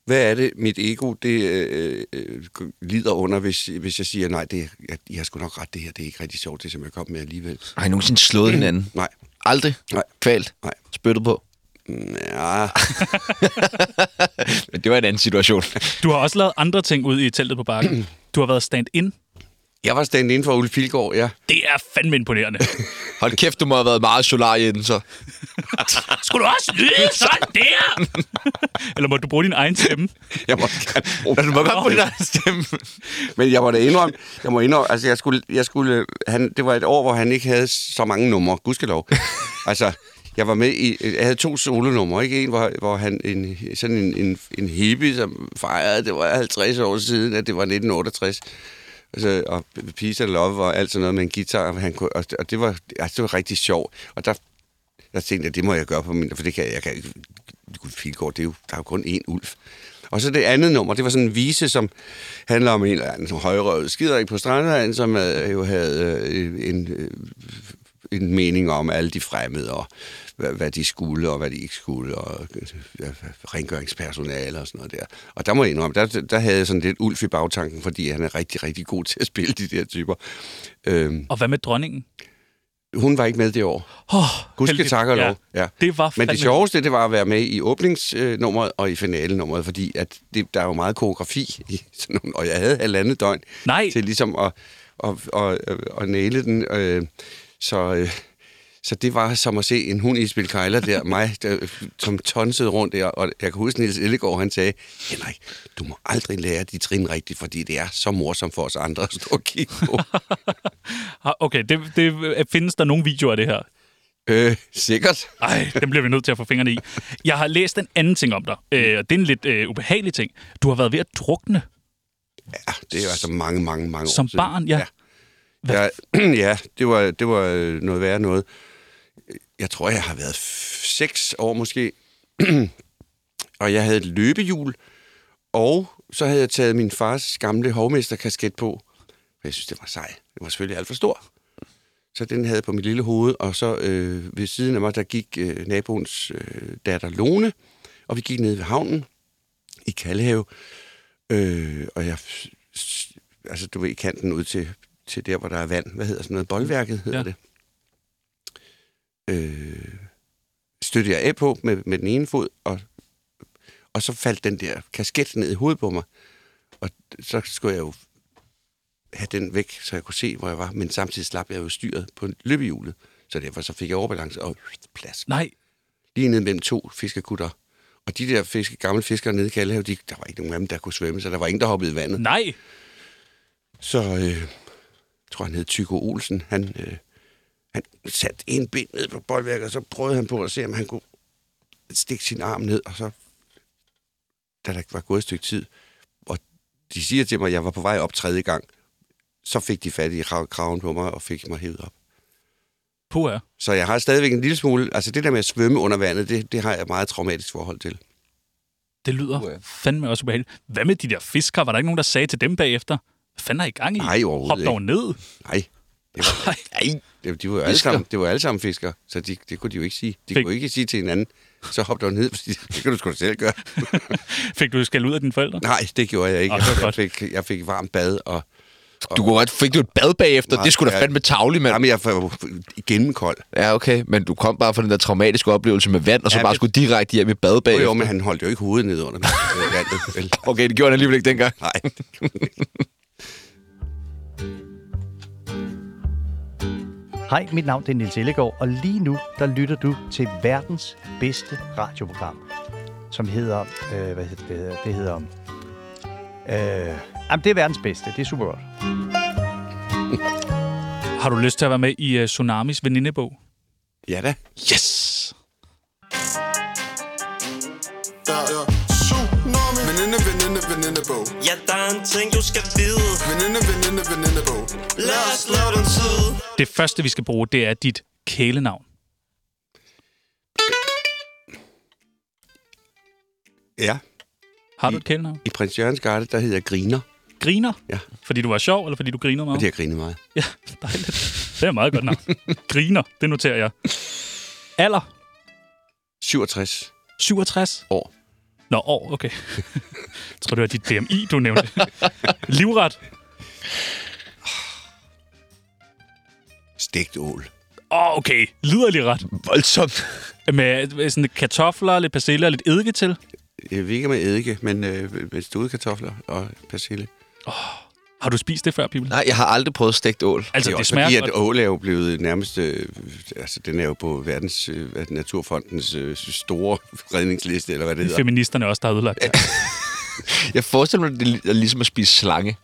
Speaker 3: hvad er det, mit ego det, øh, øh, lider under, hvis, hvis jeg siger, nej, det, jeg, jeg har sgu nok ret, det her, det er ikke rigtig sjovt, det som jeg kom med alligevel.
Speaker 1: Har I nogensinde slået hinanden?
Speaker 3: Nej.
Speaker 1: Aldrig?
Speaker 3: Nej.
Speaker 1: Kvalt?
Speaker 3: Nej.
Speaker 1: Spyttet på?
Speaker 3: Ja,
Speaker 1: Men det var en anden situation.
Speaker 4: Du har også lavet andre ting ude i teltet på bakken. Du har været stand-in.
Speaker 3: jeg var stand inden for Ulf Pilgaard, ja.
Speaker 4: Det er fandme imponerende.
Speaker 1: Hold kæft, du må have været meget solar i den, så.
Speaker 4: Skulle du også lyde sådan der? Eller må du bruge din egen stemme?
Speaker 3: Jeg må gerne bruge
Speaker 1: Du må godt få din egen stemme.
Speaker 3: Men jeg må da indrømme, jeg må indrømme, altså jeg skulle, jeg skulle han, det var et år, hvor han ikke havde så mange numre, gudskelov. altså, jeg var med i, jeg havde to solonumre, ikke? En, hvor, hvor han, en, sådan en, en, en hippie, som fejrede, det var 50 år siden, at det var 1968. Altså, og Peace and Love og alt sådan noget med en guitar. Og, han kunne, og, og det, var, altså, det var rigtig sjovt. Og der, der tænkte jeg, det må jeg gøre på min... For det kan jeg, jeg kan ikke... Gud, Filgaard, det er jo, der er jo kun én ulv. Og så det andet nummer, det var sådan en vise, som handler om en eller anden højrøvet skider ikke på stranden, som øh, jo havde øh, en, øh, en mening om alle de fremmede, og hvad, hvad de skulle, og hvad de ikke skulle, og øh, ja, rengøringspersonale og sådan noget der. Og der må jeg indrømme, der, der havde jeg sådan lidt ulf i bagtanken, fordi han er rigtig, rigtig god til at spille de der typer. Øhm,
Speaker 4: Og hvad med dronningen?
Speaker 3: hun var ikke med det år.
Speaker 4: Oh,
Speaker 3: Gud skal takke og lov.
Speaker 4: Ja. Det var
Speaker 3: Men
Speaker 4: fandme-
Speaker 3: det sjoveste, det var at være med i åbningsnummeret og i finalenummeret, fordi at det, der er jo meget koreografi i sådan nogle, og jeg havde halvandet døgn
Speaker 4: Nej.
Speaker 3: til ligesom at, at, at, at, at næle den. Øh, så, øh, så det var som at se en hund i spil kejler der, mig, der, som tonsede rundt der, og jeg kan huske, Niels Ellegaard, han sagde, Henrik, du må aldrig lære de trin rigtigt, fordi det er så morsomt for os andre at stå og kigge på.
Speaker 4: Ah, Okay, det, det, øh, findes der nogle videoer af det her?
Speaker 3: øh, sikkert.
Speaker 4: Ej, den bliver vi nødt til at få fingrene i. Jeg har læst en anden ting om dig, øh, og det er en lidt øh, ubehagelig ting. Du har været ved at drukne
Speaker 3: Ja, det er jo altså mange, mange, mange år
Speaker 4: som
Speaker 3: siden.
Speaker 4: barn, ja.
Speaker 3: Ja, ja det, var, det var øh, noget værre noget. Jeg tror, jeg har været f- seks år måske. og jeg havde et løbehjul, og så havde jeg taget min fars gamle hovmesterkasket på. For Jeg synes, det var sej. Det var selvfølgelig alt for stor. Så den havde jeg på mit lille hoved, og så øh, ved siden af mig, der gik øh, naboens øh, datter Lone, og vi gik ned ved havnen i Kallehave, Øh, og jeg... Altså, du ved, kanten ud til, til der, hvor der er vand. Hvad hedder sådan noget? Boldværket hedder
Speaker 4: Ja.
Speaker 3: ja. det. Øh, støttede jeg af på med, med den ene fod, og, og så faldt den der kasket ned i hovedet på mig. Og så skulle jeg jo have den væk, så jeg kunne se, hvor jeg var. Men samtidig slap jeg jo styret på løbehjulet. Så derfor så fik jeg overbalance og plads
Speaker 4: Nej,
Speaker 3: lige ned mellem to fiskekutter. Og de der fiske, gamle fiskere nede i Kallehav, de, der var ikke nogen af dem, der kunne svømme, så der var ingen, der hoppede i vandet.
Speaker 4: nej.
Speaker 3: Så øh, jeg tror, han hed Tycho Olsen. Han, øh, han satte en ben ned på boldværket, og så prøvede han på at se, om han kunne stikke sin arm ned. Og så, da der var gået et stykke tid, og de siger til mig, at jeg var på vej op tredje gang, så fik de fat i krav- kraven på mig og fik mig hævet op.
Speaker 4: På er.
Speaker 3: Så jeg har stadigvæk en lille smule... Altså det der med at svømme under vandet, det, det har jeg et meget traumatisk forhold til.
Speaker 4: Det lyder
Speaker 3: Puha.
Speaker 4: fandme også ubehageligt. Hvad med de der fiskere? Var der ikke nogen, der sagde til dem bagefter? Hvad fanden er I gang i?
Speaker 3: Nej, overhovedet
Speaker 4: Hop dog ned.
Speaker 3: Nej. Det var, nej. Det, de var jo alle
Speaker 1: Fisker.
Speaker 3: sammen, det var alle sammen fiskere, så de, det kunne de jo ikke sige. De
Speaker 4: Fik-
Speaker 3: Fik. kunne ikke sige til hinanden, så hop dog ned, fordi det kan du sgu da selv gøre.
Speaker 4: Fik du skæld ud af dine forældre?
Speaker 3: Nej, det gjorde jeg ikke.
Speaker 4: Åh, det var
Speaker 3: jeg,
Speaker 4: godt.
Speaker 3: fik, jeg fik varmt bad, og
Speaker 1: Du kunne godt, fik du et bad bagefter.
Speaker 3: Nej,
Speaker 1: det skulle da
Speaker 3: ja.
Speaker 1: fandme tavlig, mand.
Speaker 3: jamen, jeg var gennem kold.
Speaker 1: Ja, okay. Men du kom bare fra den der traumatiske oplevelse med vand, og så
Speaker 3: Ja,
Speaker 1: bare
Speaker 3: men-
Speaker 1: skulle direkte hjem i bad
Speaker 3: Jo,
Speaker 1: bagefter.
Speaker 3: jo, men han holdt jo ikke hovedet ned under øh, vandet. vel?
Speaker 1: Okay, det gjorde han alligevel ikke dengang.
Speaker 3: Nej.
Speaker 7: Hej, mit navn det er Nils Ellegaard, og lige nu der lytter du til verdens bedste radioprogram, som hedder... Øh, hvad hedder det? hedder- Det hedder... Øh, jamen, det er verdens bedste. Det er super godt.
Speaker 4: Har du lyst til at være med i uh, Tsunamis venindebog?
Speaker 3: Ja da.
Speaker 4: Yes!
Speaker 8: Der er tsunami Veninde, veninde, venindebog
Speaker 9: Ja, der er en ting, du skal vide.
Speaker 8: Veninde, veninde, venindebog
Speaker 9: Lad os lave den tid.
Speaker 4: Det første, vi skal bruge, det er dit kælenavn.
Speaker 3: Ja.
Speaker 4: Har du et kælenavn?
Speaker 3: I Prins Jørgens Garde, der hed jeg Griner,
Speaker 4: Griner?
Speaker 3: Ja.
Speaker 4: Fordi du var sjov, eller fordi du griner meget?
Speaker 3: og det har jeg grinet meget.
Speaker 4: Ja, dejligt. Det er meget godt navn. Griner, det noterer jeg. Alder?
Speaker 3: 67
Speaker 4: 67?
Speaker 3: år.
Speaker 4: Nå, år, okay. jeg tror, det var dit BMI, du nævnte. Livret?
Speaker 3: Stegt ål.
Speaker 4: Åh, oh, okay. Liderlig ret.
Speaker 1: Voldsomt.
Speaker 4: Med øh, sådan lidt kartofler, lidt persille og lidt eddike til.
Speaker 3: Jeg ved ikke med eddike, men øh, med studekartofler og persille.
Speaker 4: Har du spist det før, Pibel?
Speaker 1: Nej, jeg har aldrig prøvet stegt ål.
Speaker 4: Altså, det,
Speaker 3: også
Speaker 4: smager
Speaker 3: fordi,
Speaker 4: godt.
Speaker 3: at ål er jo blevet nærmest... Øh, altså, den er jo på verdens, øh, hvad- Naturfondens øh, store redningsliste, eller hvad det hedder.
Speaker 4: Feministerne også, der har ødelagt det.
Speaker 1: Jeg forestiller mig, det er ligesom at spise slange.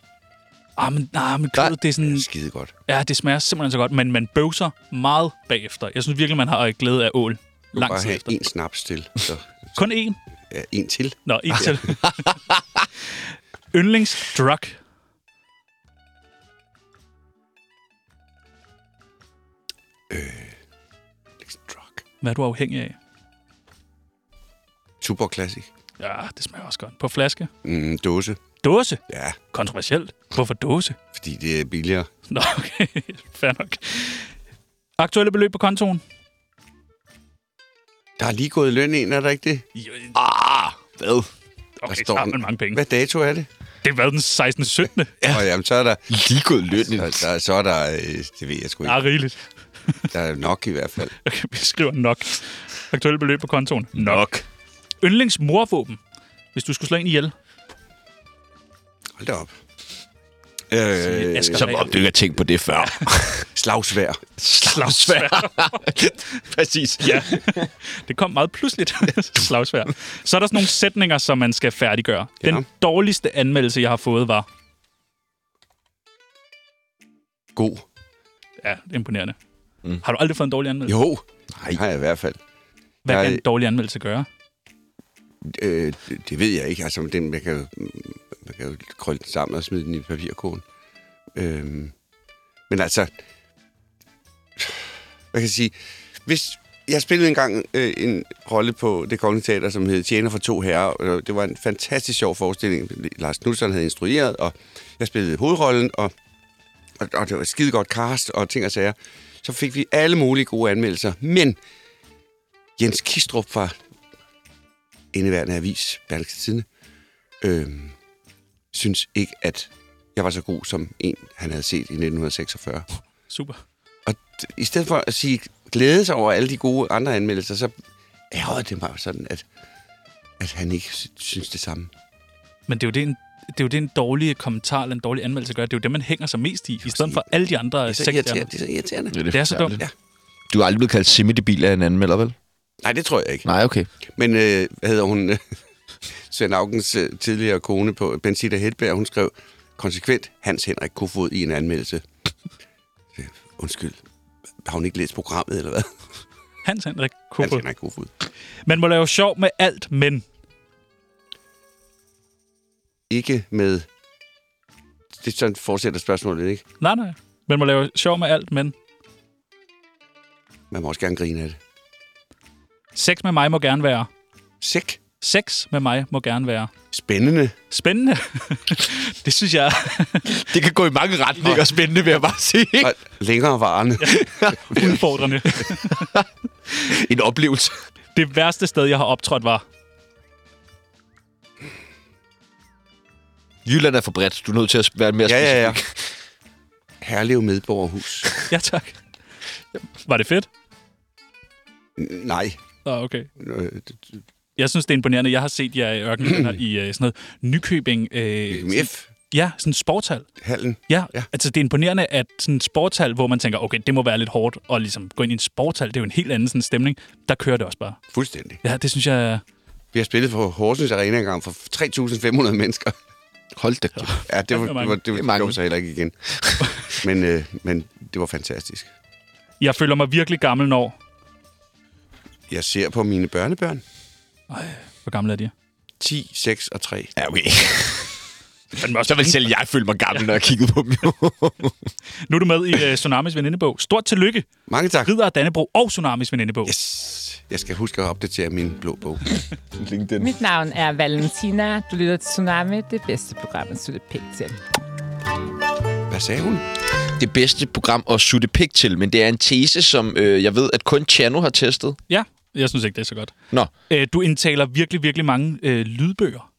Speaker 4: Ah, men, ah, men kødet, det er sådan...
Speaker 3: Skide godt.
Speaker 4: Ja, det smager simpelthen så godt, men man bøvser meget bagefter. Jeg synes virkelig, man har glæde af ål
Speaker 3: Du kan
Speaker 4: lang
Speaker 3: bare
Speaker 4: tid
Speaker 3: have
Speaker 4: efter.
Speaker 3: en snaps til. Så,
Speaker 4: Kun én?
Speaker 3: Ah, ja, en til.
Speaker 4: Nå, en til. Yndlingsdrug. Hvad er du afhængig af?
Speaker 3: Tuborg Classic.
Speaker 4: Ja, det smager også godt. På flaske.
Speaker 3: Mm, dåse.
Speaker 4: Dåse?
Speaker 3: Ja,
Speaker 4: Kontroversielt. Hvorfor dåse?
Speaker 3: fordi det er billigere.
Speaker 4: Nå, okay. Fair nok. Aktuelle beløb på kontoen?
Speaker 3: Der er lige gået løn ind, er der ikke det?
Speaker 1: Ah, hvad?
Speaker 4: Okay,
Speaker 3: der
Speaker 4: der
Speaker 3: står
Speaker 4: står
Speaker 3: den.
Speaker 4: man mange penge.
Speaker 3: Hvad dato er det?
Speaker 4: Det har været den 16. 17.
Speaker 3: Ja. Og jamen, så er der...
Speaker 1: Lige gået løn.
Speaker 3: Så, der, så er der... øh, Det ved jeg sgu
Speaker 4: Ja,
Speaker 3: ikke.
Speaker 4: rigeligt.
Speaker 3: Der er nok i hvert fald.
Speaker 4: Okay, vi skriver nok. Aktuelle beløb på kontoen? Nok. Yndlings morvåben? Hvis du skulle slå en ihjel?
Speaker 3: Hold da op. Øh,
Speaker 4: Asger
Speaker 1: Som om du ikke har tænkt på det før.
Speaker 3: slagsvær.
Speaker 4: Slagsvær.
Speaker 1: Præcis.
Speaker 4: ja. Det kom meget pludseligt. Slagsvær. Så er der sådan nogle sætninger, som man skal færdiggøre.
Speaker 3: Ja.
Speaker 4: Den dårligste anmeldelse, jeg har fået, var...
Speaker 3: God.
Speaker 4: Ja, imponerende. Mm. Har du aldrig fået en dårlig anmeldelse?
Speaker 3: Jo. Nej. Har jeg i hvert fald.
Speaker 4: Hvad
Speaker 3: jeg-
Speaker 4: kan en dårlig anmeldelse gøre?
Speaker 3: Øh, det, det ved jeg ikke. Altså, den, man, kan jo, man kan jo krølle den sammen og smide den i papirkålen. Øh, men altså... Hvad kan jeg sige? Hvis... Jeg spillede engang øh, en rolle på det kongelige teater, som hed Tjener for to herrer. Og det var en fantastisk sjov forestilling. Lars Knudsen havde instrueret, og jeg spillede hovedrollen, og, og, og det var et skide godt cast og ting og sager. Så fik vi alle mulige gode anmeldelser. Men Jens Kistrup fra indeværende avis, Berlingske Tidende, øh, synes ikke, at jeg var så god som en, han havde set i 1946.
Speaker 4: Super.
Speaker 3: Og d- i stedet for at sige glæde sig over alle de gode andre anmeldelser, så ærgerede det mig jo sådan, at, at han ikke sy- synes det samme.
Speaker 4: Men det er jo det, en, det er jo det, en dårlig kommentar eller en dårlig anmeldelse gør. Det er jo det, man hænger sig mest i, i stedet for alle de andre
Speaker 3: Det er så irriterende.
Speaker 4: sektorer.
Speaker 3: Det er så irriterende.
Speaker 4: Det er så dumt.
Speaker 3: Ja.
Speaker 1: Du er aldrig blevet kaldt semidebil af en anmelder, vel?
Speaker 3: Nej, det tror jeg ikke.
Speaker 1: Nej, okay.
Speaker 3: Men øh, hvad hedder hun? Svend Augens øh, tidligere kone på Benzita Hedberg, hun skrev konsekvent Hans Henrik Kofod i en anmeldelse. Øh, Undskyld, har hun ikke læst programmet, eller hvad?
Speaker 4: Hans Henrik
Speaker 3: Hans
Speaker 4: Kofod.
Speaker 3: Henrik Kofod.
Speaker 4: Man må lave sjov med alt, men...
Speaker 3: Ikke med... Det sådan fortsætter spørgsmålet, ikke?
Speaker 4: Nej, nej. Man må lave sjov med alt, men...
Speaker 3: Man må også gerne grine af det.
Speaker 4: Sex med mig må gerne være.
Speaker 3: Sæk.
Speaker 4: Sex med mig må gerne være.
Speaker 3: Spændende.
Speaker 4: Spændende. det synes jeg...
Speaker 1: Det kan gå i mange retninger og spændende, vil jeg bare sige.
Speaker 3: Og længere varende.
Speaker 4: Udfordrende.
Speaker 1: En oplevelse.
Speaker 4: det værste sted, jeg har optrådt, var...
Speaker 1: Jylland er for bredt. Du er nødt til at være mere
Speaker 3: Ja, ja, ja.
Speaker 1: specifik.
Speaker 3: Herlev Medborgerhus.
Speaker 4: Ja, tak. Var det fedt?
Speaker 3: N- Nej.
Speaker 4: Nå, okay.
Speaker 3: Øh, det- det-
Speaker 4: Jeg synes, det er imponerende. Jeg har set jer i Ørkenvinder i øh, sådan noget Nykøbing... Øh, sådan-
Speaker 3: F.
Speaker 4: ja, sådan en sportshal.
Speaker 3: Hallen.
Speaker 4: Ja,
Speaker 3: Ja.
Speaker 4: ja, altså det er imponerende, at sådan en sportshal, hvor man tænker, okay, det må være lidt hårdt at ligesom gå ind i en sportshal, det er jo en helt anden sådan stemning, der kører det også bare.
Speaker 3: Fuldstændig.
Speaker 4: Ja, det synes jeg...
Speaker 3: Vi har spillet på Horsens Arena engang for 3.500 mennesker.
Speaker 1: Hold da kæft.
Speaker 3: Ja, det var,
Speaker 4: Det er
Speaker 3: det
Speaker 4: mange.
Speaker 3: var, det var,
Speaker 1: er
Speaker 3: det
Speaker 1: mange.
Speaker 3: blev så heller ikke igen. men, øh, men det var fantastisk.
Speaker 4: Jeg føler mig virkelig gammel, når...
Speaker 3: Jeg ser på mine børnebørn.
Speaker 4: Hvor gammel er de?
Speaker 3: 10, 6 og 3.
Speaker 1: Ja, okay.
Speaker 4: Fandme også
Speaker 1: Så vil selv jeg føle mig gammel, når jeg kiggede på dem.
Speaker 4: Nu er du med i uh, Tsunamis venindebog. Stort tillykke,
Speaker 3: Mange tak.
Speaker 4: Ridder af Dannebro og Tsunamis venindebog. Yes.
Speaker 3: Yes. Jeg skal huske at opdatere min blå bog.
Speaker 10: Mit navn er Valentina. Du lytter til Tsunami, det bedste program, at slutte pænt til.
Speaker 3: Hvad sagde hun?
Speaker 1: det bedste program at sutte pik til, men det er en tese, som øh, jeg ved, at kun Chano har testet.
Speaker 4: Ja, jeg synes ikke, det er så godt.
Speaker 1: Nå,
Speaker 4: Uh, du indtaler virkelig, virkelig mange uh, lydbøger.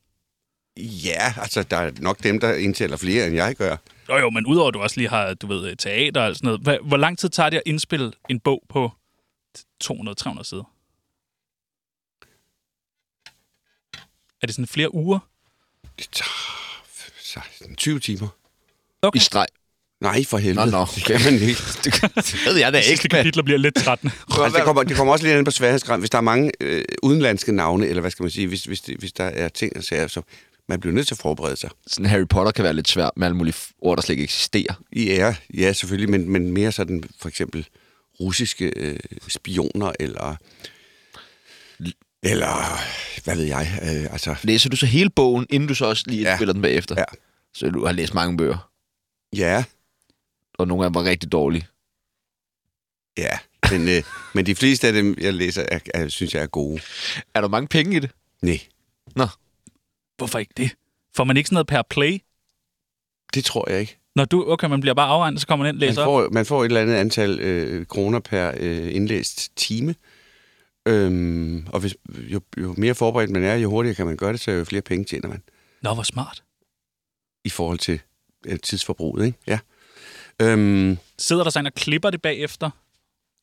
Speaker 3: Ja, altså, der er nok dem, der indtæller flere, end jeg gør.
Speaker 4: Jo jo, men udover at du også lige har, du ved, øh, teater og sådan noget. Hva, hvor lang tid tager det at indspille en bog på 200-300 sider? Er det sådan flere uger?
Speaker 3: Det tager f- 16, 20 timer.
Speaker 1: i streg.
Speaker 3: Nej, for helvede.
Speaker 1: Nå, nå.
Speaker 3: Det kan man ikke.
Speaker 1: Det, det ved jeg da ikke.
Speaker 4: Sidste kapitler bliver lidt trættende.
Speaker 3: Altså, det, kommer, det kommer også lidt an på sværhedsgrad. Hvis der er mange øh, udenlandske navne, eller hvad skal man sige, hvis, hvis, det, hvis der er ting og sager, så man bliver nødt til at forberede sig.
Speaker 1: Sådan Harry Potter kan være lidt svært med alle mulige ord, der slet ikke eksisterer.
Speaker 3: Ja, ja selvfølgelig, men, men mere sådan for eksempel russiske øh, spioner, eller, eller hvad ved jeg, øh, altså,
Speaker 1: Læser du så hele bogen, inden du så også lige
Speaker 3: Ja.
Speaker 1: ja. spiller den bagefter?
Speaker 3: Ja.
Speaker 1: Så du har læst mange bøger,
Speaker 3: ja,
Speaker 1: og nogle af dem var rigtig dårlige.
Speaker 3: ja, Men, øh, men de fleste af dem, jeg læser, er, er, synes jeg er gode.
Speaker 1: Er der mange penge i det?
Speaker 3: Nej,
Speaker 4: Hvorfor ikke det? Får man ikke sådan noget per play?
Speaker 3: det tror jeg ikke.
Speaker 4: Når du, okay, man bliver bare afregnet, så kommer man ind og
Speaker 3: Man
Speaker 4: læser op.
Speaker 3: får, man får et eller andet antal øh, kroner per øh, indlæst time. Øhm, og hvis, jo, jo mere forberedt man er, jo hurtigere kan man gøre det, så jo flere penge tjener man.
Speaker 4: Nå, hvor smart.
Speaker 3: i forhold til øh, tidsforbruget, ikke? Ja. Øhm,
Speaker 4: Sidder der så en og klipper det bagefter?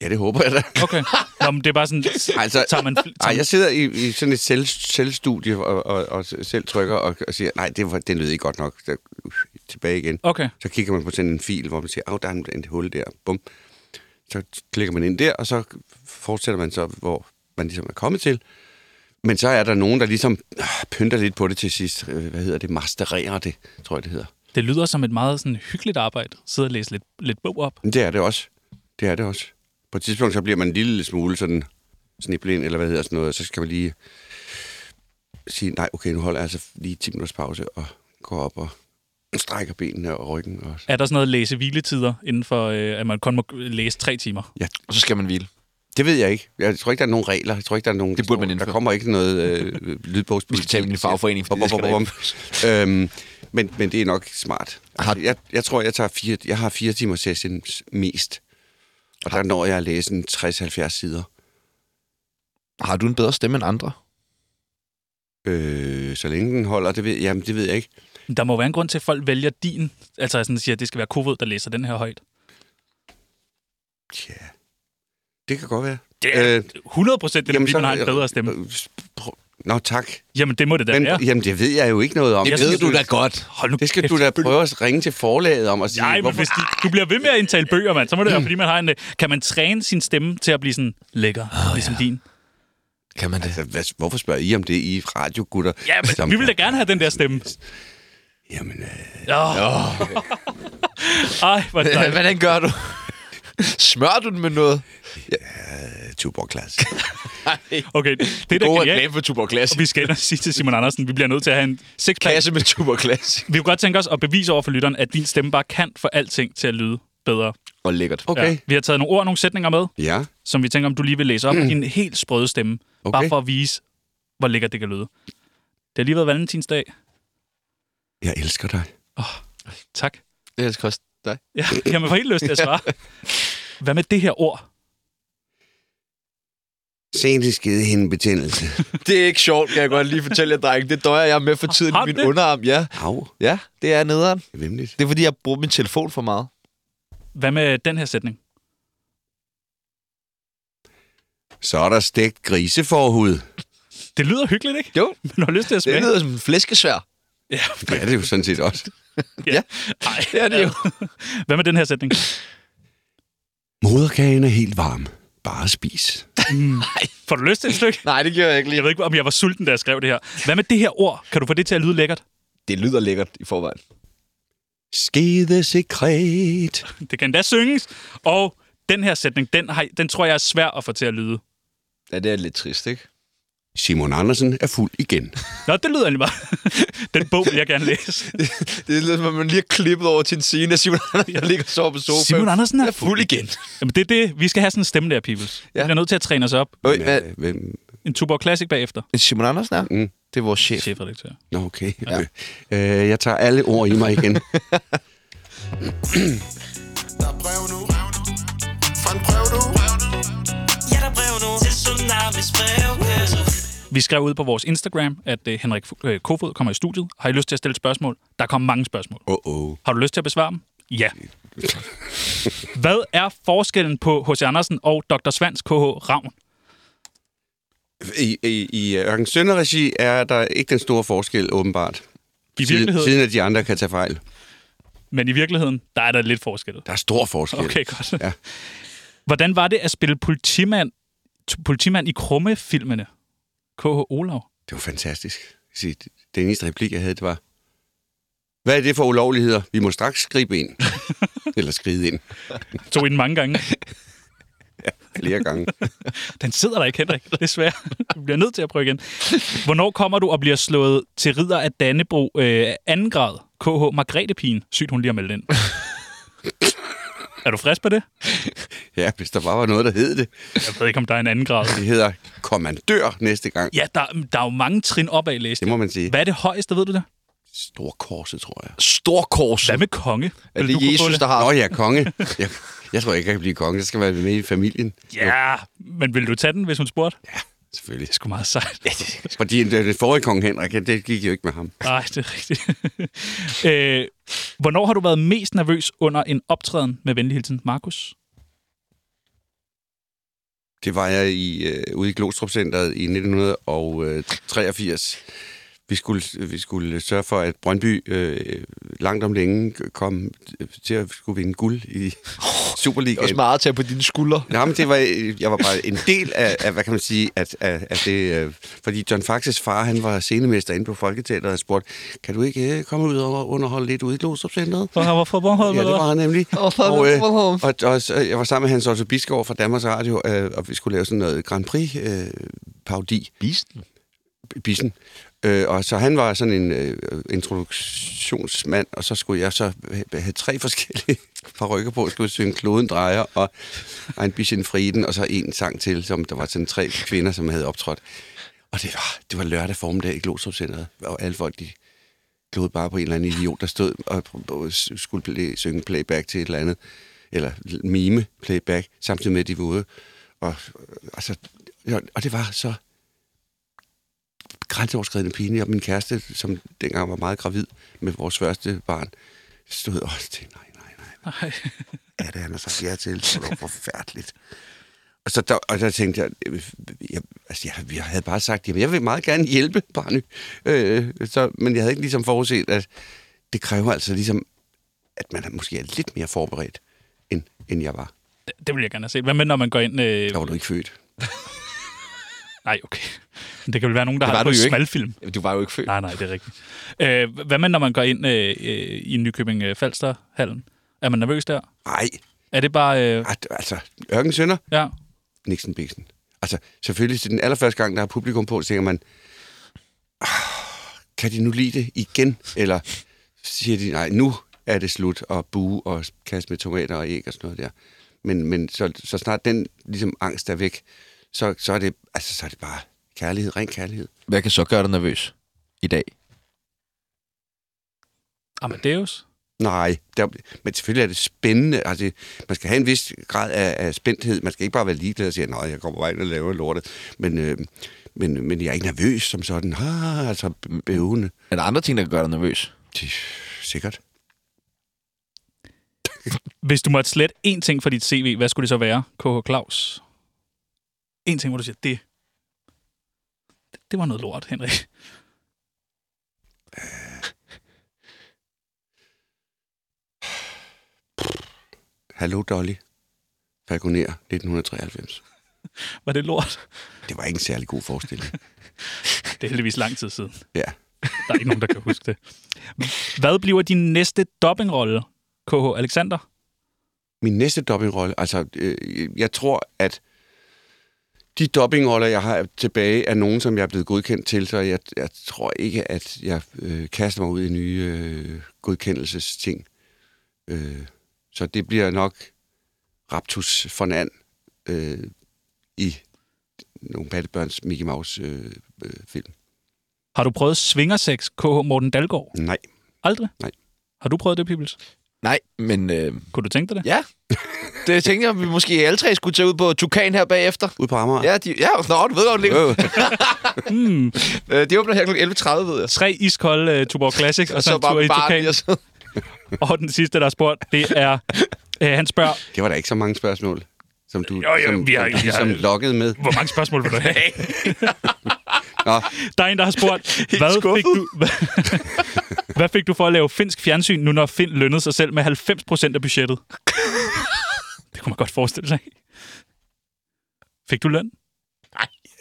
Speaker 3: ja, det håber jeg da.
Speaker 4: Okay. Nå, men det er bare sådan,
Speaker 3: Altså,
Speaker 4: tager man... Tager
Speaker 3: Ej, jeg sidder i, i sådan et selv, selvstudie og, og, og selv trykker og, og siger, nej, det, var, det lød ikke godt nok. Så, uh, tilbage igen.
Speaker 4: Okay.
Speaker 3: Så kigger man på sådan en fil, hvor man siger, at der er en, en hul der. Bum. Så klikker man ind der, og så fortsætter man så, hvor man ligesom er kommet til. Men så er der nogen, der ligesom øh, pynter lidt på det til sidst. Øh, Hvad hedder det? Mastererer det, tror jeg, det hedder.
Speaker 4: Det lyder som et meget sådan, hyggeligt arbejde. Sidde og læse lidt, lidt bog op.
Speaker 3: Det er det også. Det er det også. På et tidspunkt, så bliver man en lille smule sådan sniblind, eller hvad hedder sådan noget, så skal man lige sige, nej, okay, nu holder jeg altså lige 10 minutters pause, og går op og strækker benene og ryggen. Og...
Speaker 4: Er der sådan noget læse-hviletider inden for, øh, at man kun må læse tre timer?
Speaker 1: Og så skal man hvile.
Speaker 3: Det ved jeg ikke. Jeg tror ikke, der er nogen regler. Jeg tror ikke, der er nogen...
Speaker 1: Det burde man
Speaker 3: Der
Speaker 1: indføre.
Speaker 3: kommer ikke noget øh, lydbogspolitik.
Speaker 1: Vi skal tale med din fagforening, fordi det
Speaker 3: Bum,
Speaker 1: skal
Speaker 3: bum,
Speaker 1: der
Speaker 3: bum, øhm, men, men det er nok smart. Altså, jeg, jeg tror, jeg, tager fire, jeg har fire timer sessions mest. Og der når jeg at læse en 60-70 sider.
Speaker 1: Har du en bedre stemme end andre?
Speaker 3: Øh, så længe den holder, det ved, jamen, det ved jeg ikke.
Speaker 4: Men Der må være en grund til, at folk vælger din. Altså sådan siger, at det skal være Kofod, der læser den her højt.
Speaker 3: Tja, det kan godt være.
Speaker 4: Det er
Speaker 3: Øh,
Speaker 4: 100 procent, det er, fordi man har en bedre stemme.
Speaker 3: øh, prøv- Nå, tak.
Speaker 4: Jamen, det må det da
Speaker 3: Men,
Speaker 4: være.
Speaker 3: jamen, det ved jeg jo ikke noget om.
Speaker 4: Det
Speaker 3: Jeg
Speaker 4: ved
Speaker 3: synes,
Speaker 4: du da
Speaker 1: godt.
Speaker 4: Hold nu
Speaker 3: Det skal
Speaker 4: kæft.
Speaker 3: du da prøve at ringe til forlaget om og sige,
Speaker 4: Nej, men
Speaker 3: hvorfor
Speaker 4: hvis de, du bliver ved med at indtale bøger, mand, så må det være, fordi man har en... øh, Kan man træne sin stemme til at blive sådan lækker, oh, ligesom ja. din?
Speaker 1: Kan man det?
Speaker 3: Altså, hvad, hvorfor spørger I om det, I radiogutter?
Speaker 4: Ja, men vi vil da gerne have den der stemme.
Speaker 3: Jamen, øh,
Speaker 4: Oh. Oh. Ej, hvor dejligt.
Speaker 1: Hvordan gør du? Smører du den med noget?
Speaker 3: tuborg klasse.
Speaker 4: Okay, det er da
Speaker 1: God
Speaker 4: genialt.
Speaker 1: reklame for Tuborg Classic.
Speaker 4: Og vi skal ind og sige til Simon Andersen, vi bliver nødt til at have en sixpack.
Speaker 1: Kasse med Tuborg Classic.
Speaker 4: Vi kunne godt tænke os at bevise over for lytteren, at din stemme bare kan få alting til at lyde bedre.
Speaker 1: Og lækkert.
Speaker 3: Okay.
Speaker 4: Vi har taget nogle ord og nogle sætninger med,
Speaker 3: Ja.
Speaker 4: som vi tænker, om du lige vil læse op i en helt sprøde stemme. Mm. Okay. Bare
Speaker 3: Okay.
Speaker 4: for at vise, hvor lækkert det kan lyde. Det har lige været valentinsdag.
Speaker 3: Jeg elsker dig.
Speaker 4: Tak.
Speaker 1: Det elsker også dig.
Speaker 4: Ja, jamen, jeg får helt lyst til at svare. Hvad med det her ord?
Speaker 3: Sent skede hende betændelse.
Speaker 1: Det er ikke sjovt, kan jeg godt lige fortælle jer, dreng. Det døjer jeg med for tiden
Speaker 4: Har
Speaker 1: i
Speaker 4: du
Speaker 1: min
Speaker 4: det?
Speaker 1: underarm. Ja.
Speaker 3: Au,
Speaker 1: ja, det er nederen.
Speaker 3: det er vemmeligt.
Speaker 1: Det er, fordi jeg bruger min telefon for meget.
Speaker 4: Hvad med den her sætning?
Speaker 3: Så er der stegt griseforhud.
Speaker 4: Det lyder hyggeligt, ikke?
Speaker 1: Jo.
Speaker 4: Man har lyst til at
Speaker 1: Det
Speaker 4: smage.
Speaker 1: lyder som en flæskesvær.
Speaker 3: Det er det jo sådan set også.
Speaker 4: Nej, det er det jo. Hvad med den her sætning?
Speaker 3: Moderkagen er helt varm. Bare spis.
Speaker 4: Får du lyst til et stykke?
Speaker 1: Nej, det gør jeg ikke
Speaker 4: Jeg ved ikke, om jeg var sulten, da jeg skrev det her. Hvad med det her ord? Kan du få det til at lyde lækkert?
Speaker 1: Det lyder lækkert i forvejen.
Speaker 3: Skede sekret.
Speaker 4: Det kan endda synges. Og den her sætning, den, har, den tror jeg er svær at få til at lyde.
Speaker 1: Ja, det er lidt trist, ikke?
Speaker 3: Simon Andersen er fuld igen.
Speaker 4: Nå, det lyder egentlig bare. Den bog vil jeg gerne læse.
Speaker 1: Det lyder som om, man lige har klippet over til en scene, at Simon Andersen der ligger og sover på sofaen.
Speaker 4: Simon Andersen er
Speaker 1: er fuld igen.
Speaker 4: Jamen, det er det. Vi skal have sådan en stemme der, peoples. Ja. Vi
Speaker 1: Ja.
Speaker 4: bliver nødt til at træne os op.
Speaker 1: Okay, hvad?
Speaker 3: Øh, Hvem?
Speaker 4: En Tuborg Classic bagefter.
Speaker 1: Simon Andersen er? øh,
Speaker 3: Mm.
Speaker 1: Det er vores chef.
Speaker 4: Chefredaktør.
Speaker 3: Nå, okay. Ja. Øh, jeg tager alle ord i mig igen.
Speaker 8: Der er brev nu Fra en brev nu
Speaker 9: Ja, der er brev nu til Tsunamis brevkasse.
Speaker 4: Vi skrev ud på vores Instagram, at øh, Henrik Fu- øh, Kofod kommer i studiet. Har I lyst til at stille spørgsmål? Der kom mange spørgsmål.
Speaker 3: Åh, oh,
Speaker 4: Har du lyst til at besvare dem? Ja. Hvad er forskellen på H.C. Andersen og Dr. Svans K.H. Ravn?
Speaker 3: I, i, i Ørken Sønderregi er der ikke den store forskel, åbenbart.
Speaker 4: I
Speaker 3: Siden,
Speaker 4: virkeligheden,
Speaker 3: siden at de andre kan tage fejl.
Speaker 4: men i virkeligheden, der er der lidt forskel.
Speaker 3: Der er stor forskel.
Speaker 4: Okay, godt. Ja.
Speaker 3: Ja.
Speaker 4: Hvordan var det at spille politimand, t- politimand i Krumme-filmene? K.H. Olav.
Speaker 3: Det var fantastisk. Jeg siger, Den eneste replik, jeg havde, det var... Hvad er det for ulovligheder? Vi må straks gribe ind. Eller skride ind.
Speaker 4: Tog ind mange gange.
Speaker 3: Flere gange.
Speaker 4: Den sidder der ikke, Henrik, desværre. Du bliver nødt til at prøve igen. Hvornår kommer du og bliver slået til ridder af Dannebro øh, anden grad? K.H. Margrethe Pigen. Sygt, hun lige har meldt ind. er du frisk på det?
Speaker 3: Ja, hvis der bare var noget, der hed det.
Speaker 4: Jeg ved ikke, om der er en anden grad.
Speaker 3: Det hedder kommandør næste gang.
Speaker 4: Ja, der, der er jo mange trin opad i læsning.
Speaker 3: Det må man sige.
Speaker 4: Hvad er det højeste, ved du det?
Speaker 3: Storkorset, tror jeg.
Speaker 1: Storkorset.
Speaker 4: Hvad med konge?
Speaker 1: Er
Speaker 4: Vil
Speaker 1: det
Speaker 4: du kunne få
Speaker 1: Jesus, der har...
Speaker 3: Nå ja, konge. Jeg, jeg tror ikke, jeg kan blive konge. Jeg skal være med i familien.
Speaker 4: Ja, men vil du tage den, hvis hun spurgte? Det
Speaker 3: Ja, selvfølgelig.
Speaker 4: er sgu meget sejt.
Speaker 3: Fordi den, den forrige konge Henrik, ja, det gik jo ikke med ham.
Speaker 4: Nej, det er rigtigt. øh, hvornår har du været mest nervøs under en optræden med venlig hilsen, Markus?
Speaker 3: Det var jeg i, øh, ude i Glostrup Centeret i 1983. Vi skulle, vi skulle sørge for, at Brøndby øh, langt om længe kom til at skulle vinde guld i
Speaker 1: Det er også
Speaker 3: Superligaen.
Speaker 1: meget at tage på dine skuldre.
Speaker 3: Nå, men det var, øh, jeg var bare en del af, af hvad kan man sige, at, af, af det, øh, fordi John Faxes far, han var scenemester inde på Folketeateret og spurgte, kan du ikke øh, komme ud og underholde lidt ude i Glostrup Centeret?
Speaker 4: Hvorfor Bornholm?
Speaker 3: Ja, det var han nemlig. Og, øh,
Speaker 1: Bornholm.
Speaker 3: og, og, så- jeg var sammen med Hans Otto Bisgaard fra Danmarks Radio, øh, og vi skulle lave sådan noget Grand Prix øh, parodi. Bisten? Bissen. Øh, og så han var sådan en øh, introduktionsmand, og så skulle jeg så ha- have tre forskellige parrykker på. Jeg skulle synge Kloden drejer og Ein bisschen Frieden, og så en sang til, som der var sådan tre kvinder, som havde optrådt. Og det var, det var lørdag formiddag i Glostrup Centeret, og alle folk, de glod bare på en eller anden idiot, der stod og, og skulle play, synge playback til et eller andet, eller mime playback, samtidig med, at de var ude. Og, og, så, og det var så grænseoverskridende pinligt, og min kæreste, som dengang var meget gravid med vores første barn, stod også til, nej, nej, nej,
Speaker 4: Nej.
Speaker 3: ja, det han har sagt ja til. Det var forfærdeligt. Og, så der, og der tænkte jeg, øh, jeg, altså jeg, jeg havde bare sagt, jamen jeg vil meget gerne hjælpe Barny. Øh, så, men jeg havde ikke ligesom forudset, at det kræver altså ligesom, at man er måske er lidt mere forberedt, end, end jeg var.
Speaker 4: Det, det vil jeg gerne have set. Hvad med, når man går ind... Øh...
Speaker 3: Der var du ikke født.
Speaker 4: Nej, okay. Men Det kan vel være nogen, der
Speaker 1: Det
Speaker 4: har
Speaker 1: var
Speaker 4: det på
Speaker 1: du jo ikke.
Speaker 4: smalfilm.
Speaker 1: Du var jo ikke født.
Speaker 4: Nej, nej, det er rigtigt. Øh, hvad med, når man går ind øh, øh, i Nykøbing øh, Falster-hallen? Er man nervøs der?
Speaker 3: Nej,
Speaker 4: Er det bare... Øh,
Speaker 3: altså, Ørken Sønder,
Speaker 4: ja.
Speaker 3: Nixon Bixen. Altså, selvfølgelig, til den allerførste gang, der er publikum på, så tænker man, "Ah, kan de nu lide det igen? Eller siger de, nej, nu er det slut, og bue og kaste med tomater og æg og sådan noget der. Men, men så, så snart den ligesom, angst er væk, så, så, er det, altså, så er det bare kærlighed, ren kærlighed.
Speaker 1: Hvad kan så gøre dig nervøs i dag?
Speaker 4: Amadeus?
Speaker 3: Nej, der, men selvfølgelig er det spændende. Altså, man skal have en vis grad af, af spændthed. Man skal ikke bare være ligeglad og sige, nej, jeg kommer vejen og laver lortet. Men, øh, men, men jeg er ikke nervøs som sådan. Ah, altså, bøvende.
Speaker 1: Er der andre ting, der kan gøre dig nervøs?
Speaker 3: Det er sikkert.
Speaker 4: Hvis du måtte slet én ting fra dit CV, hvad skulle det så være? KH Claus? En ting, hvor du siger, det... Det var noget lort, Henrik.
Speaker 3: Hallo, Dolly. Falconer 1993.
Speaker 4: Var det lort?
Speaker 3: Det var ikke en særlig god forestilling.
Speaker 4: Det er heldigvis lang tid siden.
Speaker 3: ja.
Speaker 4: Der er ikke nogen, der kan huske det. Hvad bliver din næste dobbingrolle, KH Alexander?
Speaker 3: Min næste dobbingrolle, altså, øh, jeg tror, at de dobbingroller, jeg har tilbage, er nogen, som jeg er blevet godkendt til, så jeg, jeg tror ikke, at jeg øh, kaster mig ud i nye øh, godkendelsesting. Øh, så det bliver nok Raptus Fornand øh, i nogle pattebørns Mickey Mouse-film. Øh, øh, film.
Speaker 4: Har du prøvet svingersex, KH Morten Dalgaard?
Speaker 3: Nej.
Speaker 4: Aldrig?
Speaker 3: Nej.
Speaker 4: Har du prøvet det, Pibels?
Speaker 1: Nej, men øh,
Speaker 4: Kunne du tænke dig det?
Speaker 1: ja. Det tænkte jeg, at vi måske alle tre skulle tage ud på Tukan her bagefter.
Speaker 3: Ude på Amager.
Speaker 1: Ja, de, ja nå, du ved, hvor det ligger.
Speaker 3: Øh.
Speaker 4: Mm.
Speaker 1: Øh, de åbner her kl. 11.30, ved jeg.
Speaker 4: Tre iskolde uh, Tuborg Classics, og, og så en tur i Tukan.
Speaker 1: lige så-
Speaker 4: Og den sidste, der har spurgt, det er... Øh, han spørger,
Speaker 3: Det var da ikke så mange spørgsmål, som du
Speaker 4: jo,
Speaker 3: som,
Speaker 4: vi har-
Speaker 3: som,
Speaker 4: vi har-
Speaker 3: som lokkede med.
Speaker 4: hvor mange spørgsmål vil du have?
Speaker 3: Nå,
Speaker 4: Der er en, der har spurgt, hvad fik, du, hvad fik du for at lave finsk fjernsyn, nu når Finn lønnede sig selv med 90% af budgettet? Det kunne man godt forestille sig. Fik du løn?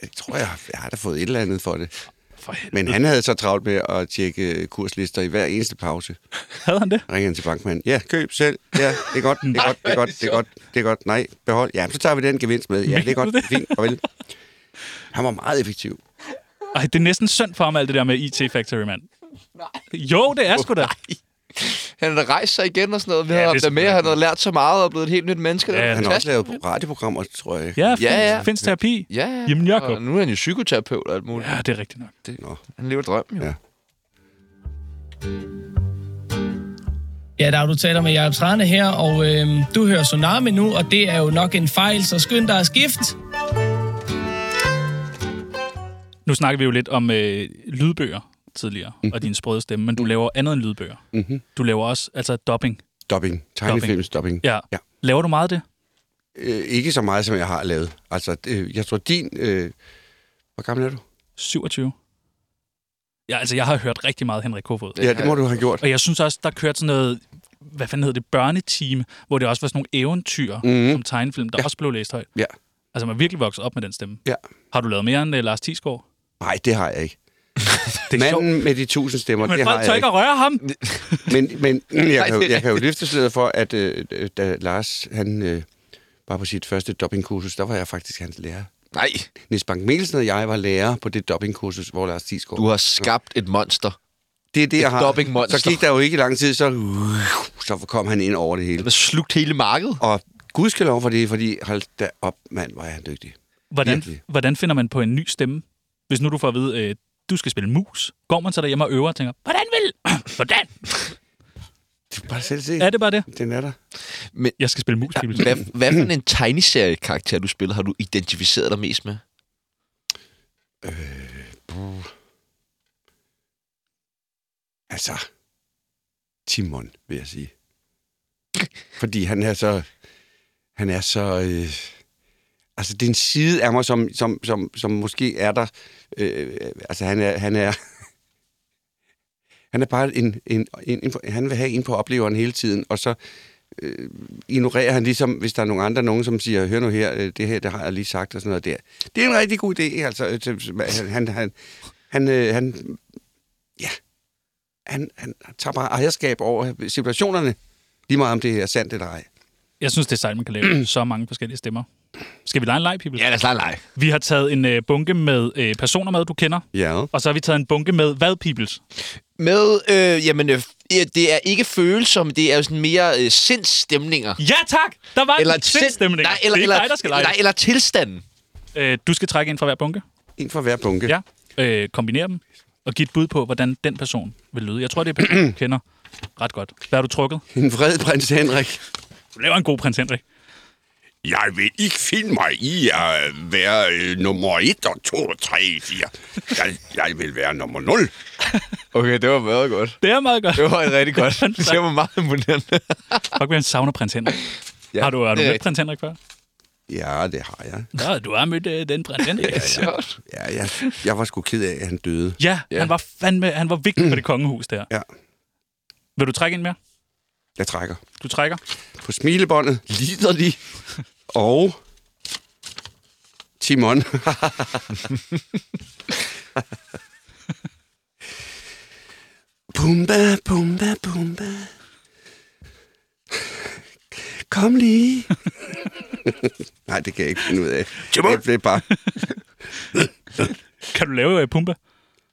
Speaker 3: jeg tror, jeg, har- jeg har da fået et eller andet for det.
Speaker 4: For helvede.
Speaker 3: Men han havde så travlt med at tjekke kurslister i hver eneste pause.
Speaker 4: Havde han det?
Speaker 3: Ringede han til bankmanden. Ja, køb selv. Ja, det er godt, det er godt, det er godt, det er godt, det er godt. Nej, behold. Ja, så tager vi den gevinst med. Ja, det er godt. Fint, farvel. Han var meget effektiv.
Speaker 4: Ej, det er næsten synd for ham, alt det der med IT Factory, mand. Jo, det er sgu da.
Speaker 1: han havde rejst sig igen og sådan noget. Vi
Speaker 4: Ja,
Speaker 1: havde
Speaker 4: det
Speaker 1: haft
Speaker 4: er
Speaker 1: ham med, og han havde lært så meget og blevet et helt nyt menneske.
Speaker 4: Ja,
Speaker 1: det var
Speaker 3: Han har også
Speaker 1: fantastisk.
Speaker 3: lavet radioprogrammer, tror jeg.
Speaker 4: Ja, findes,
Speaker 1: Ja, ja.
Speaker 4: findes terapi.
Speaker 1: Ja, ja.
Speaker 4: Jamen, Jacob.
Speaker 1: Og nu er han jo psykoterapeut og alt muligt.
Speaker 4: Ja, det er rigtigt nok.
Speaker 3: Nå.
Speaker 1: Han lever drømmen jo.
Speaker 3: Ja.
Speaker 11: Ja, der er du taler med Jacob Trane her, og øhm, du hører Tsunami nu, og det er jo nok en fejl, så skynd dig at skifte.
Speaker 4: Nu snakker vi jo lidt om øh, lydbøger tidligere, mm-hmm.
Speaker 1: Mhm.
Speaker 4: og din sprøde stemme, men du laver andet end lydbøger.
Speaker 3: Mm-hmm.
Speaker 4: Du laver også altså dubbing.
Speaker 3: Dubbing. Tegnefilms dubbing.
Speaker 4: Ja.
Speaker 3: Ja.
Speaker 4: Laver du meget af det?
Speaker 3: Øh, ikke så meget, som jeg har lavet. Altså, øh, jeg tror, din... Øh, hvor gammel er du?
Speaker 4: 27? Ja, altså, jeg har hørt rigtig meget Henrik Kofod.
Speaker 3: Ja, det må du have gjort.
Speaker 4: Og jeg synes også, der kørte sådan noget, hvad fanden hed det, børneteam, hvor det også var sådan nogle eventyr mm-hmm. som tegnefilm, der ja. også blev læst højt.
Speaker 3: Mhm. Ja.
Speaker 4: Altså, man er virkelig vokset op med den stemme.
Speaker 3: Ja.
Speaker 4: Har du lavet mere end uh, Lars Tisgaard?
Speaker 3: Nej, det har jeg ikke.
Speaker 4: Det er sjovt.
Speaker 3: Manden med de tusind stemmer,
Speaker 4: Men
Speaker 3: det har
Speaker 4: folk
Speaker 3: jeg
Speaker 4: tør ikke
Speaker 3: ikke.
Speaker 4: at røre ham.
Speaker 3: Men, men jeg, kan jo,
Speaker 1: det er
Speaker 3: jeg kan jo løfte sløret for, at øh, øh, da Lars han, øh, var på sit første dubbingkursus, der var jeg faktisk hans lærer.
Speaker 1: Nej,
Speaker 3: Nis Bank Mielsen og jeg var lærer på det dubbingkursus, hvor Lars Tisgaard...
Speaker 1: du har skabt et monster.
Speaker 3: det er det, jeg har.
Speaker 1: dubbingmonster.
Speaker 3: Så gik der jo ikke lang tid, så, så kom han ind over det hele.
Speaker 1: Du har slugt hele markedet.
Speaker 3: Og gud skal lov for det, fordi hold da op, mand, hvor er han dygtig.
Speaker 4: Hvordan,
Speaker 3: Virkelig.
Speaker 4: hvordan finder man på en ny stemme? Hvis nu du får at vide, øh, du skal spille mus, går man så derhjemme og øver og tænker, hvordan vil? hvordan?
Speaker 3: Du kan bare selv se.
Speaker 4: Er det bare det?
Speaker 3: Den er der.
Speaker 4: Jeg skal spille mus, Pibels.
Speaker 1: Hvad, hvad for en tegneseriekarakter, du spiller, har du identificeret dig mest med?
Speaker 3: Altså, Timon, vil jeg sige. Fordi han er så... Han er så... Øh, altså, det er en side af mig, som, som, som, som måske er der... Øh, altså, han er... Han er han er bare en, en, en, en, han vil have en på opleveren hele tiden, og så øh, ignorerer han ligesom, hvis der er nogen andre, nogen som siger, hør nu her, øh, det her, det har jeg lige sagt, og sådan noget der. Det er en rigtig god idé, altså. øh, til- Han, han, han, han, øh, han han, han tager bare ejerskab over situationerne, lige meget om det er sandt eller ej.
Speaker 4: Jeg synes, det er sejt, man kan lave så mange forskellige stemmer. Skal vi lege en leg, Pibels?
Speaker 1: lad os lege lege.
Speaker 4: Vi har taget en øh, bunke med øh, personer med, du kender.
Speaker 3: Ja.
Speaker 4: Og så har vi taget en bunke med, hvad, Pibels?
Speaker 1: Med, øh, jamen, øh, ja, det er ikke følelser, men det er jo sådan mere øh, sindsstemninger.
Speaker 4: Ja, tak! Der var
Speaker 1: sind-
Speaker 4: en sindstemning.
Speaker 1: Nej, eller,
Speaker 4: det er ikke
Speaker 1: eller,
Speaker 4: dig, der skal lege.
Speaker 1: nej, eller tilstanden.
Speaker 4: Øh, du skal trække en fra hver bunke.
Speaker 3: En for hver bunke.
Speaker 4: Ja. Øh, kombinere dem og give et bud på, hvordan den person vil lyde. Jeg tror, det er en person, du kender ret godt. Hvad har du trukket?
Speaker 3: En vred prins Henrik.
Speaker 4: Du laver en god prins Henrik.
Speaker 6: Jeg vil ikke finde mig i at være øh, nummer 1 og 2 og 3 og 4. Jeg, jeg vil være nummer 0.
Speaker 1: Okay, det var meget godt.
Speaker 4: Det er meget godt.
Speaker 1: Det var rigtig godt. Det var meget imponerende.
Speaker 4: Fuck, vi savner prins Henrik.
Speaker 1: Ja,
Speaker 4: Ja, har du, har du
Speaker 1: det er
Speaker 4: mødt prins Henrik før?
Speaker 3: Ja, det har jeg.
Speaker 4: Nå, du har mødt øh, den prins Henrik. ja, ja.
Speaker 3: Ja, jeg, jeg var sgu ked af, at han døde.
Speaker 4: ja,
Speaker 1: Ja.
Speaker 4: han var fandme, han var vigtig for det kongehus der.
Speaker 3: Ja.
Speaker 4: Vil du trække en mere?
Speaker 3: Jeg trækker.
Speaker 4: Du trækker.
Speaker 3: På smilebåndet lider de. Og... Timon. Pumba, pumba, pumba. Kom lige. Nej, det kan jeg ikke finde ud af.
Speaker 6: Timon!
Speaker 3: Det er bare...
Speaker 4: Kan du lave øh, Pumba?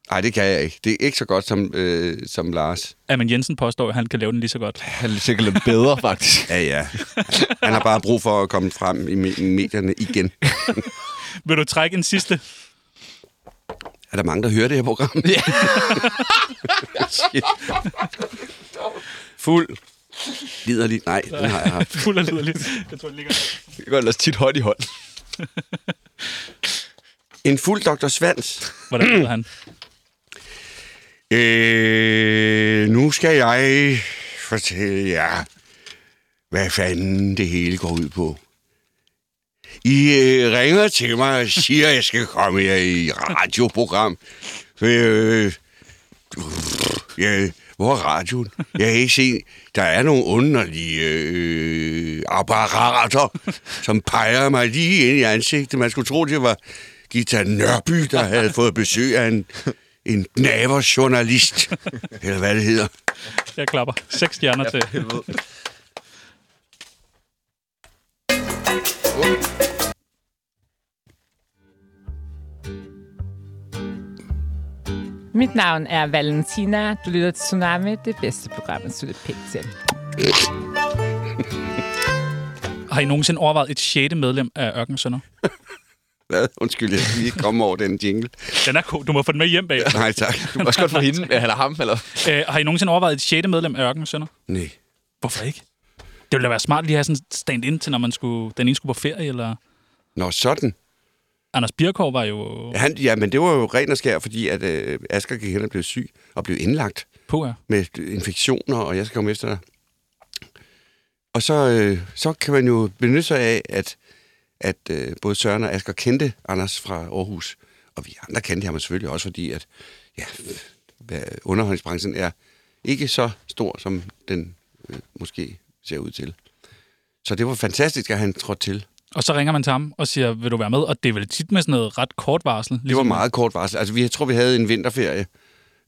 Speaker 3: Nej, det kan jeg ikke. Det er ikke så godt som, øh, som Lars.
Speaker 4: Amen Jensen påstår, at han kan lave den lige så godt.
Speaker 1: Han er sikkert lidt bedre, faktisk.
Speaker 3: Ja, ja. Han har bare brug for at komme frem i me- medierne igen.
Speaker 4: Vil du trække en sidste?
Speaker 3: Er der mange, der hører det her program? Ja. Shit. Fuld. Lider lige. Nej, den har jeg haft.
Speaker 4: Fuld af liderlig. Jeg tror, det ligger.
Speaker 1: Det går ellers tit hånd i hånd.
Speaker 3: En fuld Dr. Svans.
Speaker 4: Hvordan lyder han?
Speaker 3: Øh, nu skal jeg fortælle jer, hvad fanden det hele går ud på. I øh, ringer til mig og siger, at jeg skal komme her i radioprogram. Øh, ja, hvor er radioen? Jeg kan ikke se, der er nogle underlige øh, apparater, som peger mig lige ind i ansigtet. Man skulle tro, det var Gita Nørby, der havde fået besøg af en, en gnaverjournalist, eller hvad det hedder.
Speaker 4: Jeg klapper. Seks stjerner til.
Speaker 10: Mit navn er Valentina. Du lytter til Tsunami, det bedste program, at slutte pænt til.
Speaker 4: Har I nogensinde overvejet et sjette medlem af Ørkensønder?
Speaker 3: Hvad? Undskyld, jeg skal lige komme over den jingle.
Speaker 4: Den er god. Du må få den med hjem bag.
Speaker 3: Nej, tak.
Speaker 4: Du må også godt få hende,
Speaker 1: eller ham, eller...
Speaker 4: Øh, har I nogensinde overvejet et sjette medlem af Ørkensønder?
Speaker 3: Nej.
Speaker 4: Hvorfor ikke? Det ville da være smart lige at have sådan stand-in til, når man skulle, den ene skulle på ferie, eller...
Speaker 3: Nå, sådan.
Speaker 4: Anders Birkov var jo...
Speaker 3: Han, ja, men det var jo ren og skær, fordi at øh, Asger gik hen og blev syg og blev indlagt
Speaker 4: på ja.
Speaker 3: med infektioner, og jeg skal komme efter dig. Og så, øh, så kan man jo benytte sig af, at, at øh, både Søren og Asger kendte Anders fra Aarhus, og vi andre kendte ham selvfølgelig også, fordi at ja, hvad- underholdningsbranchen er ikke så stor, som den øh, måske ser ud til. Så det var fantastisk, at han trådte til.
Speaker 4: Og så ringer man til ham og siger, vil du være med? Og det er vel tit med sådan noget ret kort varsel. ligesom
Speaker 3: Det var meget kort varsel. Altså, vi, jeg tror, vi havde en vinterferie,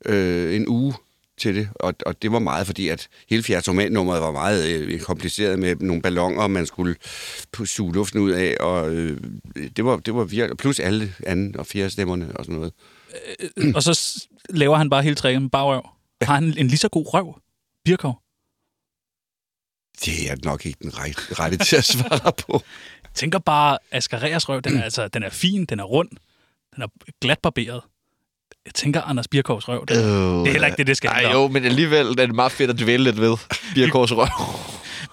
Speaker 3: øh, en uge til det, og, og det var meget, fordi at hele fjertomatnummeret var meget øh, kompliceret med nogle ballonger, man skulle pu- suge luften ud af, og øh, det var, det var virkelig, plus alle anden og fjerde stemmerne og sådan noget.
Speaker 4: Øh, og så s- laver han bare hele tricket med bagrøv. Har han en lige så god røv, Birkov?
Speaker 3: Det er nok ikke den rette, rette til at svare på.
Speaker 4: Tænker bare, Asger Reers røv, den er, altså, den er fin, den er rund, den er glatbarberet. Jeg tænker, Anders Birkovs røv, den, det er heller ikke det, det skal handle
Speaker 1: Øh, Ej,
Speaker 4: om.
Speaker 1: jo, men alligevel er det meget fedt at dvæle lidt ved Birkårs røv.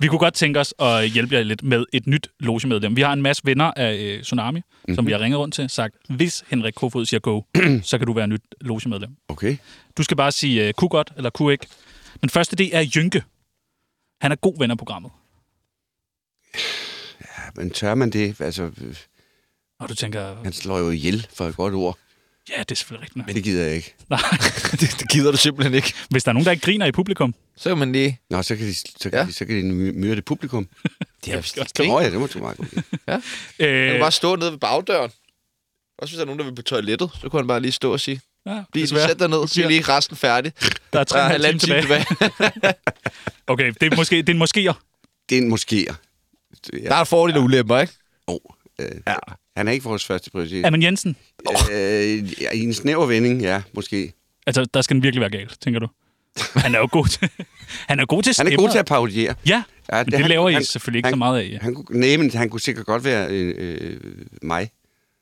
Speaker 4: Vi kunne godt tænke os at hjælpe jer lidt med et nyt logemedlem. Vi har en masse venner af øh, Tsunami, mm-hmm.
Speaker 1: Mhm.
Speaker 4: som vi har ringet rundt til, sagt, hvis Henrik Kofod siger go, så kan du være nyt logemedlem.
Speaker 3: Okay.
Speaker 4: Du skal bare sige, øh, kunne godt eller kunne ikke. Den første, det er Jynke. Han er god ven af programmet.
Speaker 3: Ja, men tør man det? Altså, øh,
Speaker 4: Og du tænker,
Speaker 3: han slår jo ihjel for et godt ord.
Speaker 4: ja, det er selvfølgelig rigtigt. nok.
Speaker 3: Men det gider jeg ikke.
Speaker 4: Nej,
Speaker 1: det, det gider du simpelthen ikke.
Speaker 4: Hvis der er nogen, der ikke griner i publikum,
Speaker 1: så kan man lige...
Speaker 3: Nå, så kan de, så kan ja. de, så kan de my- myrde publikum.
Speaker 1: Det er
Speaker 4: godt
Speaker 3: Nå ja, det må du meget godt.
Speaker 1: Ja.
Speaker 4: Øh,
Speaker 1: Han kunne bare stå nede ved bagdøren. Også hvis der er nogen, der vil på toilettet, så kunne han bare lige stå og sige,
Speaker 4: Ja,
Speaker 1: Bliv,
Speaker 4: desværre.
Speaker 1: sæt dig ned, sig lige resten færdig.
Speaker 4: Der er tre og en halv time tilbage. Okay, det er måske, det er en måske.
Speaker 3: Det er en moskéer. Ja.
Speaker 1: Der er fordele og ulemper, ikke?
Speaker 3: Oh, øh, ja. Han er ikke vores første prioritet.
Speaker 4: Amen Jensen.
Speaker 3: Øh, ja, I en snæver vending, ja, måske.
Speaker 4: Altså, der skal den virkelig være galt, tænker du. Han er jo god til, han er god til
Speaker 3: Han er
Speaker 4: stemmer.
Speaker 3: god til at parodiere.
Speaker 4: Ja,
Speaker 3: ja
Speaker 4: men det laver I selvfølgelig ikke så meget af, ja.
Speaker 3: Han, kunne- nej, men han kunne sikkert godt være øh, øh, mig.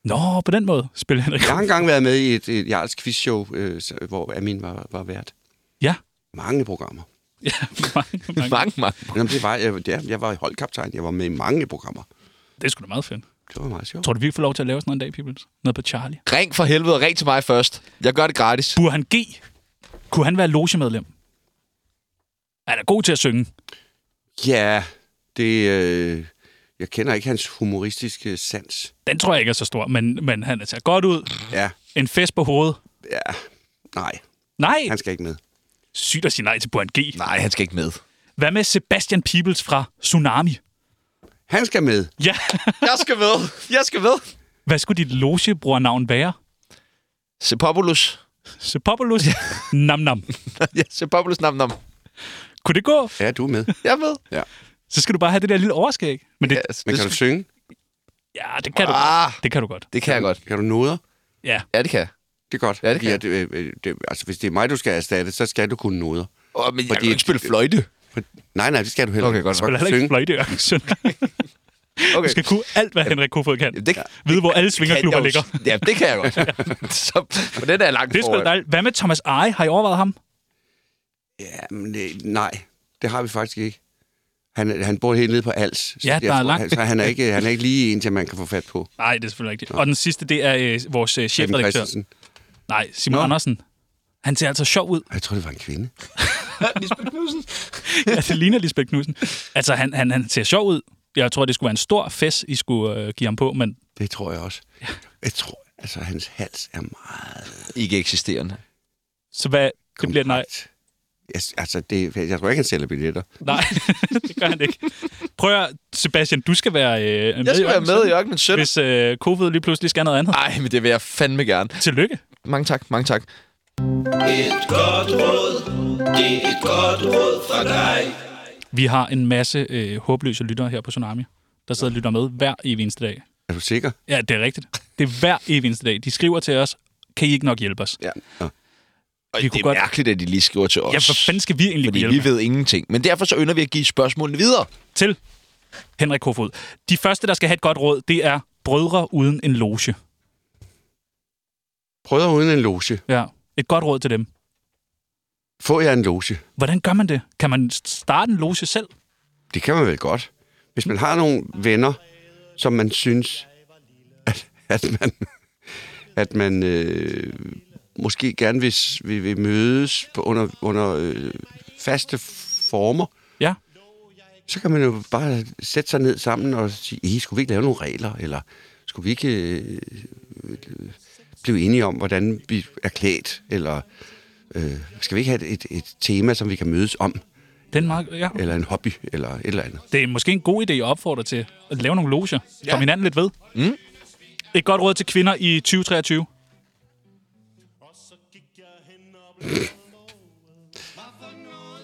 Speaker 4: Nå, på den måde spiller Henrik.
Speaker 3: Jeg har engang været med i et, et Jarls quizshow, øh, så- hvor Amin var, var vært.
Speaker 4: Ja.
Speaker 3: Mange programmer.
Speaker 4: Ja, mange, mange.
Speaker 1: mange, mange.
Speaker 3: Jamen, det var, jeg, ja, jeg var holdkaptajn. Jeg var med i mange programmer.
Speaker 4: Det er sgu da meget fedt.
Speaker 3: Det var meget sjovt.
Speaker 4: Tror du, vi får lov til at lave sådan noget en dag, Peoples? Noget på Charlie.
Speaker 1: Ring for helvede, ring til mig først. Jeg gør det gratis.
Speaker 4: Burde han G? Kunne han være logemedlem? Han er god til at synge.
Speaker 3: Ja, det... Øh, jeg kender ikke hans humoristiske sans.
Speaker 4: Den tror jeg ikke er så stor, men, men han ser godt ud.
Speaker 3: Ja,
Speaker 4: En fest på hovedet.
Speaker 3: ja. Nej,
Speaker 4: Nej,
Speaker 3: han skal ikke med.
Speaker 4: sygt at sige nej til Burhan G.
Speaker 1: Nej, han skal ikke med.
Speaker 4: Hvad med Sebastian Peebles fra Tsunami?
Speaker 3: Han skal med.
Speaker 4: Ja,
Speaker 1: Jeg skal med. Jeg skal med.
Speaker 4: hvad skulle dit logebrugernavn være?
Speaker 1: Sepopoulos.
Speaker 4: Sepopoulos? nam nam.
Speaker 1: ja, Sepopoulos nam nam.
Speaker 4: Kunne det gå?
Speaker 3: Ja, du er med.
Speaker 1: Jeg er med.
Speaker 4: Så skal du bare have det der lille overskæg. Men det,
Speaker 1: Ja, altså,
Speaker 3: Men
Speaker 1: det,
Speaker 3: kan du synge?
Speaker 4: ja, det kan du
Speaker 1: Ah.
Speaker 4: godt. Det kan du godt.
Speaker 1: det kan jeg godt.
Speaker 3: Kan du noder?
Speaker 4: Ja.
Speaker 1: Ja, det kan jeg.
Speaker 3: Det er godt.
Speaker 1: Ja, det kan
Speaker 3: fordi at, øh, øh, det, altså, hvis det er mig, du skal erstatte, så skal du kunne noder.
Speaker 1: Åh, men jeg
Speaker 3: Fordi-
Speaker 1: kan jo ikke spille fløjte.
Speaker 3: For, nej, nej, det skal du heller
Speaker 1: Okay,
Speaker 3: ikke.
Speaker 1: godt
Speaker 3: Så
Speaker 1: nok.
Speaker 4: Eller
Speaker 3: kan du
Speaker 4: heller ikke
Speaker 3: synge.
Speaker 4: fløjte i Ørkensund. Du
Speaker 1: Okay.
Speaker 4: skal kunne alt, hvad Henrik Kofod kan.
Speaker 1: Jamen, det-
Speaker 4: Vide, hvor alle
Speaker 1: Kan jeg
Speaker 4: svingerklubber
Speaker 1: jo-
Speaker 4: ligger.
Speaker 1: Ja, det kan jeg godt. så, men den er jeg langt
Speaker 4: Det er sgu da
Speaker 1: foran.
Speaker 4: dejligt. Hvad med Thomas Eje? Har I overvejet ham?
Speaker 3: Jamen, det, øh, nej, det har vi faktisk ikke. Han, han bor helt nede på Als. Så
Speaker 4: Ja,
Speaker 3: jeg
Speaker 4: der er langt.
Speaker 3: Han, så han er, ikke, han er ikke lige en, til man kan få fat på.
Speaker 4: Nej, det er selvfølgelig rigtigt. Og den sidste, det er øh, vores øh,
Speaker 3: Preben
Speaker 4: chefredaktør.
Speaker 3: Christensen.
Speaker 4: Nej, Simon
Speaker 3: Nå.
Speaker 4: Andersen. Han ser altså sjov ud.
Speaker 3: Jeg tror, det var en kvinde.
Speaker 4: ja, det ligner Lisbeth Knudsen. Altså, han, han, han ser sjov ud. Jeg tror, det skulle være en stor fest, I skulle øh, give ham på, men
Speaker 3: Det tror jeg også. Jeg tror, altså, hans hals er meget...
Speaker 1: Ikke eksisterende.
Speaker 4: så hvad, det bliver et nej.
Speaker 3: kompakt. Jeg, altså, det, jeg tror ikke, han sælger billetter.
Speaker 4: Nej, det gør han ikke. Prøv at, høre, Sebastian, du skal være øh, med
Speaker 1: Jeg skal
Speaker 4: i
Speaker 1: være med i Ørkenens Sønder.
Speaker 4: Hvis øh, Kofod lige pludselig skal noget andet.
Speaker 1: Ej, men det vil jeg fandme gerne.
Speaker 4: Tillykke.
Speaker 1: Mange tak, mange tak.
Speaker 4: Vi har en masse øh, håbløse lyttere her på Tsunami, der sidder og lytter med hver evig eneste dag.
Speaker 3: Er du sikker?
Speaker 4: Ja, det er rigtigt. Det er hver evig eneste dag. De skriver til os, kan I ikke nok hjælpe os?
Speaker 3: Ja. Nå.
Speaker 1: Og vi det er godt... mærkeligt, at de lige skriver til os.
Speaker 4: Ja, for fanden skal vi egentlig
Speaker 1: Fordi
Speaker 4: kunne
Speaker 1: vi
Speaker 4: hjælpe?
Speaker 1: ved ingenting. Men derfor så ynder vi at give spørgsmålene videre.
Speaker 4: Til Henrik Kofod. De første, der skal have et godt råd, det er brødre uden en loge.
Speaker 3: Brødre uden en loge.
Speaker 4: Ja. Et godt råd til dem.
Speaker 3: Får jeg en loge?
Speaker 4: Hvordan gør man det? Kan man starte en loge selv?
Speaker 3: Det kan man vel godt. Hvis man har nogle venner, som man synes, at, at man, at man øh, måske gerne vil, s- vil, vil mødes på, under, under øh, faste former,
Speaker 4: ja.
Speaker 3: så kan man jo bare sætte sig ned sammen og sige, "Eh, skulle vi ikke lave nogle regler, eller skulle vi ikke øh, øh, blive enige om, hvordan vi er klædt, eller øh, skal vi ikke have et, et tema, som vi kan mødes om,
Speaker 4: Den mark- ja.
Speaker 3: eller en hobby, eller et eller andet.
Speaker 4: Det er måske en god idé at opfordre til at lave nogle loger. Ja. Kom hinanden lidt ved. Mm. Et godt råd til kvinder i 2023.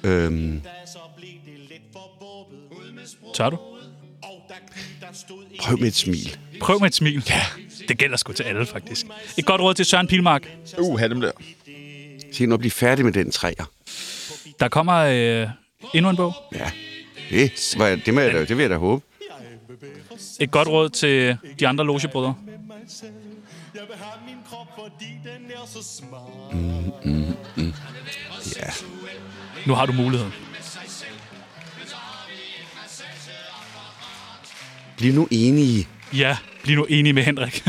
Speaker 3: Øhm,
Speaker 4: Tør du?
Speaker 3: prøv med et smil.
Speaker 4: Prøv med et smil. Ja. Det gælder sgu til alle, faktisk. Et godt råd til Søren Pilmark.
Speaker 1: Uh, have dem der.
Speaker 3: Se nu at blive færdig med den træer.
Speaker 4: Der kommer øh, endnu en bog.
Speaker 3: Ja, det, var, det, må jeg, da- det vil jeg da håbe.
Speaker 4: Et godt råd til de andre logebrødre.
Speaker 3: Mm, mm. Ja.
Speaker 4: Nu har du muligheden.
Speaker 3: Bliv nu enige.
Speaker 4: Ja, bliv nu enig med Henrik.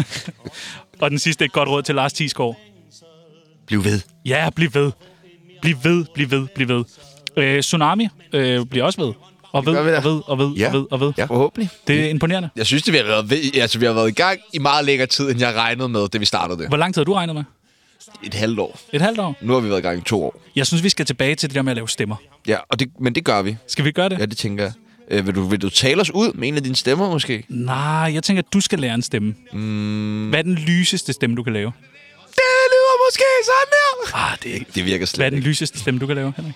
Speaker 4: Og den sidste et godt råd til Lars Tisgaard.
Speaker 3: Bliv ved.
Speaker 4: Ja, bliv ved. Bliv ved, bliv ved, bliv ved. Øh, tsunami øh, bliver også ved. Og ved, og ved, og ved,
Speaker 1: Ja.
Speaker 4: og ved, og ved.
Speaker 3: Ja,
Speaker 1: forhåbentlig.
Speaker 4: Det er imponerende.
Speaker 1: Jeg synes, det vi har, været ved, altså, vi har været i gang i meget længere tid, end jeg regnede med, da vi startede det.
Speaker 4: Hvor lang tid har du regnet med?
Speaker 1: Et halvt år.
Speaker 4: Et halvt år?
Speaker 1: Nu har vi været i gang i to år.
Speaker 4: Jeg synes, vi skal tilbage til det der med at lave stemmer.
Speaker 1: Ja, og det, men det gør vi.
Speaker 4: Skal vi gøre det?
Speaker 1: Ja, det tænker jeg. Øh, vil, du, vil du tale os ud med en af dine stemmer, måske?
Speaker 4: Nej, jeg tænker, at du skal lære en stemme. Mm. Hvad er den lyseste stemme, du kan lave?
Speaker 1: Det lyder måske sådan der!
Speaker 4: Ah, det,
Speaker 1: det virker slet
Speaker 4: Hvad er den lyseste stemme, du kan lave, Henrik?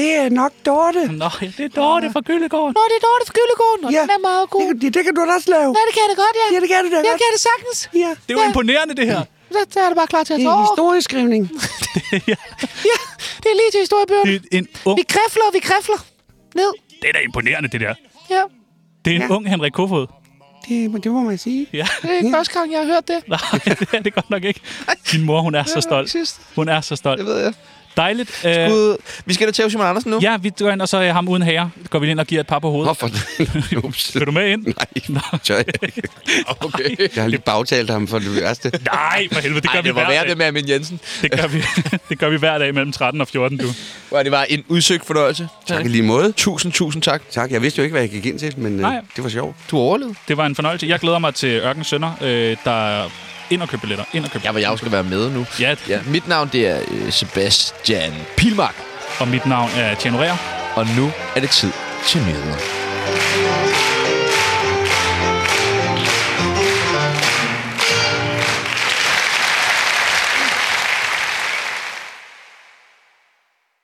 Speaker 3: Det er nok Dorte.
Speaker 4: Nå, ja, det er Dorte fra Kølegården.
Speaker 12: Nå, det er Dorte fra Kølegården, og ja. den er meget god.
Speaker 3: Det, det kan du da også lave.
Speaker 12: Ja, det kan jeg da godt, ja.
Speaker 3: Ja, det kan du da
Speaker 12: ja,
Speaker 3: godt.
Speaker 12: det kan jeg da sagtens.
Speaker 3: Ja.
Speaker 4: Det er jo imponerende, det her.
Speaker 12: Så, så er det bare klar til at
Speaker 3: Det
Speaker 12: tage
Speaker 3: er
Speaker 12: over.
Speaker 3: historieskrivning.
Speaker 12: Ja, det er lige til historiebøgerne.
Speaker 4: Det er en ung...
Speaker 12: Vi kræfler, vi kræfler. Ned.
Speaker 4: Det er da imponerende, det der.
Speaker 12: Ja,
Speaker 4: Det er en ja. ung Henrik Kofod.
Speaker 3: Det, men det må man sige.
Speaker 4: Ja.
Speaker 12: det er ikke første gang, jeg har hørt det.
Speaker 4: Nej, det er det godt nok ikke. Din mor, hun er så stolt. Hun er så stolt. Det
Speaker 1: ved jeg.
Speaker 4: Dejligt. Øh,
Speaker 1: Skud. Vi skal da til Simon Andersen nu.
Speaker 4: Ja, vi går ind, og så øh, ham uden herre. Går vi ind og giver et par på hovedet.
Speaker 3: Hvorfor? Ups.
Speaker 4: Vil du med ind?
Speaker 3: Nej, tør jeg ikke. Okay. Jeg har lige bagtalt ham for det værste.
Speaker 4: Nej, for helvede, det gør
Speaker 1: Ej,
Speaker 4: vi
Speaker 1: det var
Speaker 4: hver
Speaker 1: værd
Speaker 4: dag.
Speaker 1: det med Amin Jensen.
Speaker 4: Det gør, vi, det gør vi hver dag mellem 13 og 14, du.
Speaker 1: Hvor det var en udsøgt fornøjelse.
Speaker 3: Tak i lige måde.
Speaker 1: Tusind, tusind tak.
Speaker 3: Tak. Jeg vidste jo ikke, hvad jeg gik ind til, men øh,
Speaker 4: Nej.
Speaker 3: det var sjovt.
Speaker 1: Du overlevede.
Speaker 4: Det var en fornøjelse. Jeg glæder mig til Ørken Sønder, øh, der er ind og købe billetter. Ind og købe
Speaker 1: Ja, hvor jeg jo skal være med nu.
Speaker 4: Ja.
Speaker 1: ja. Mit navn, det er øh, Sebastian Pilmark.
Speaker 4: Og mit navn er Tjano Rea.
Speaker 1: Og nu er det tid til nyheder.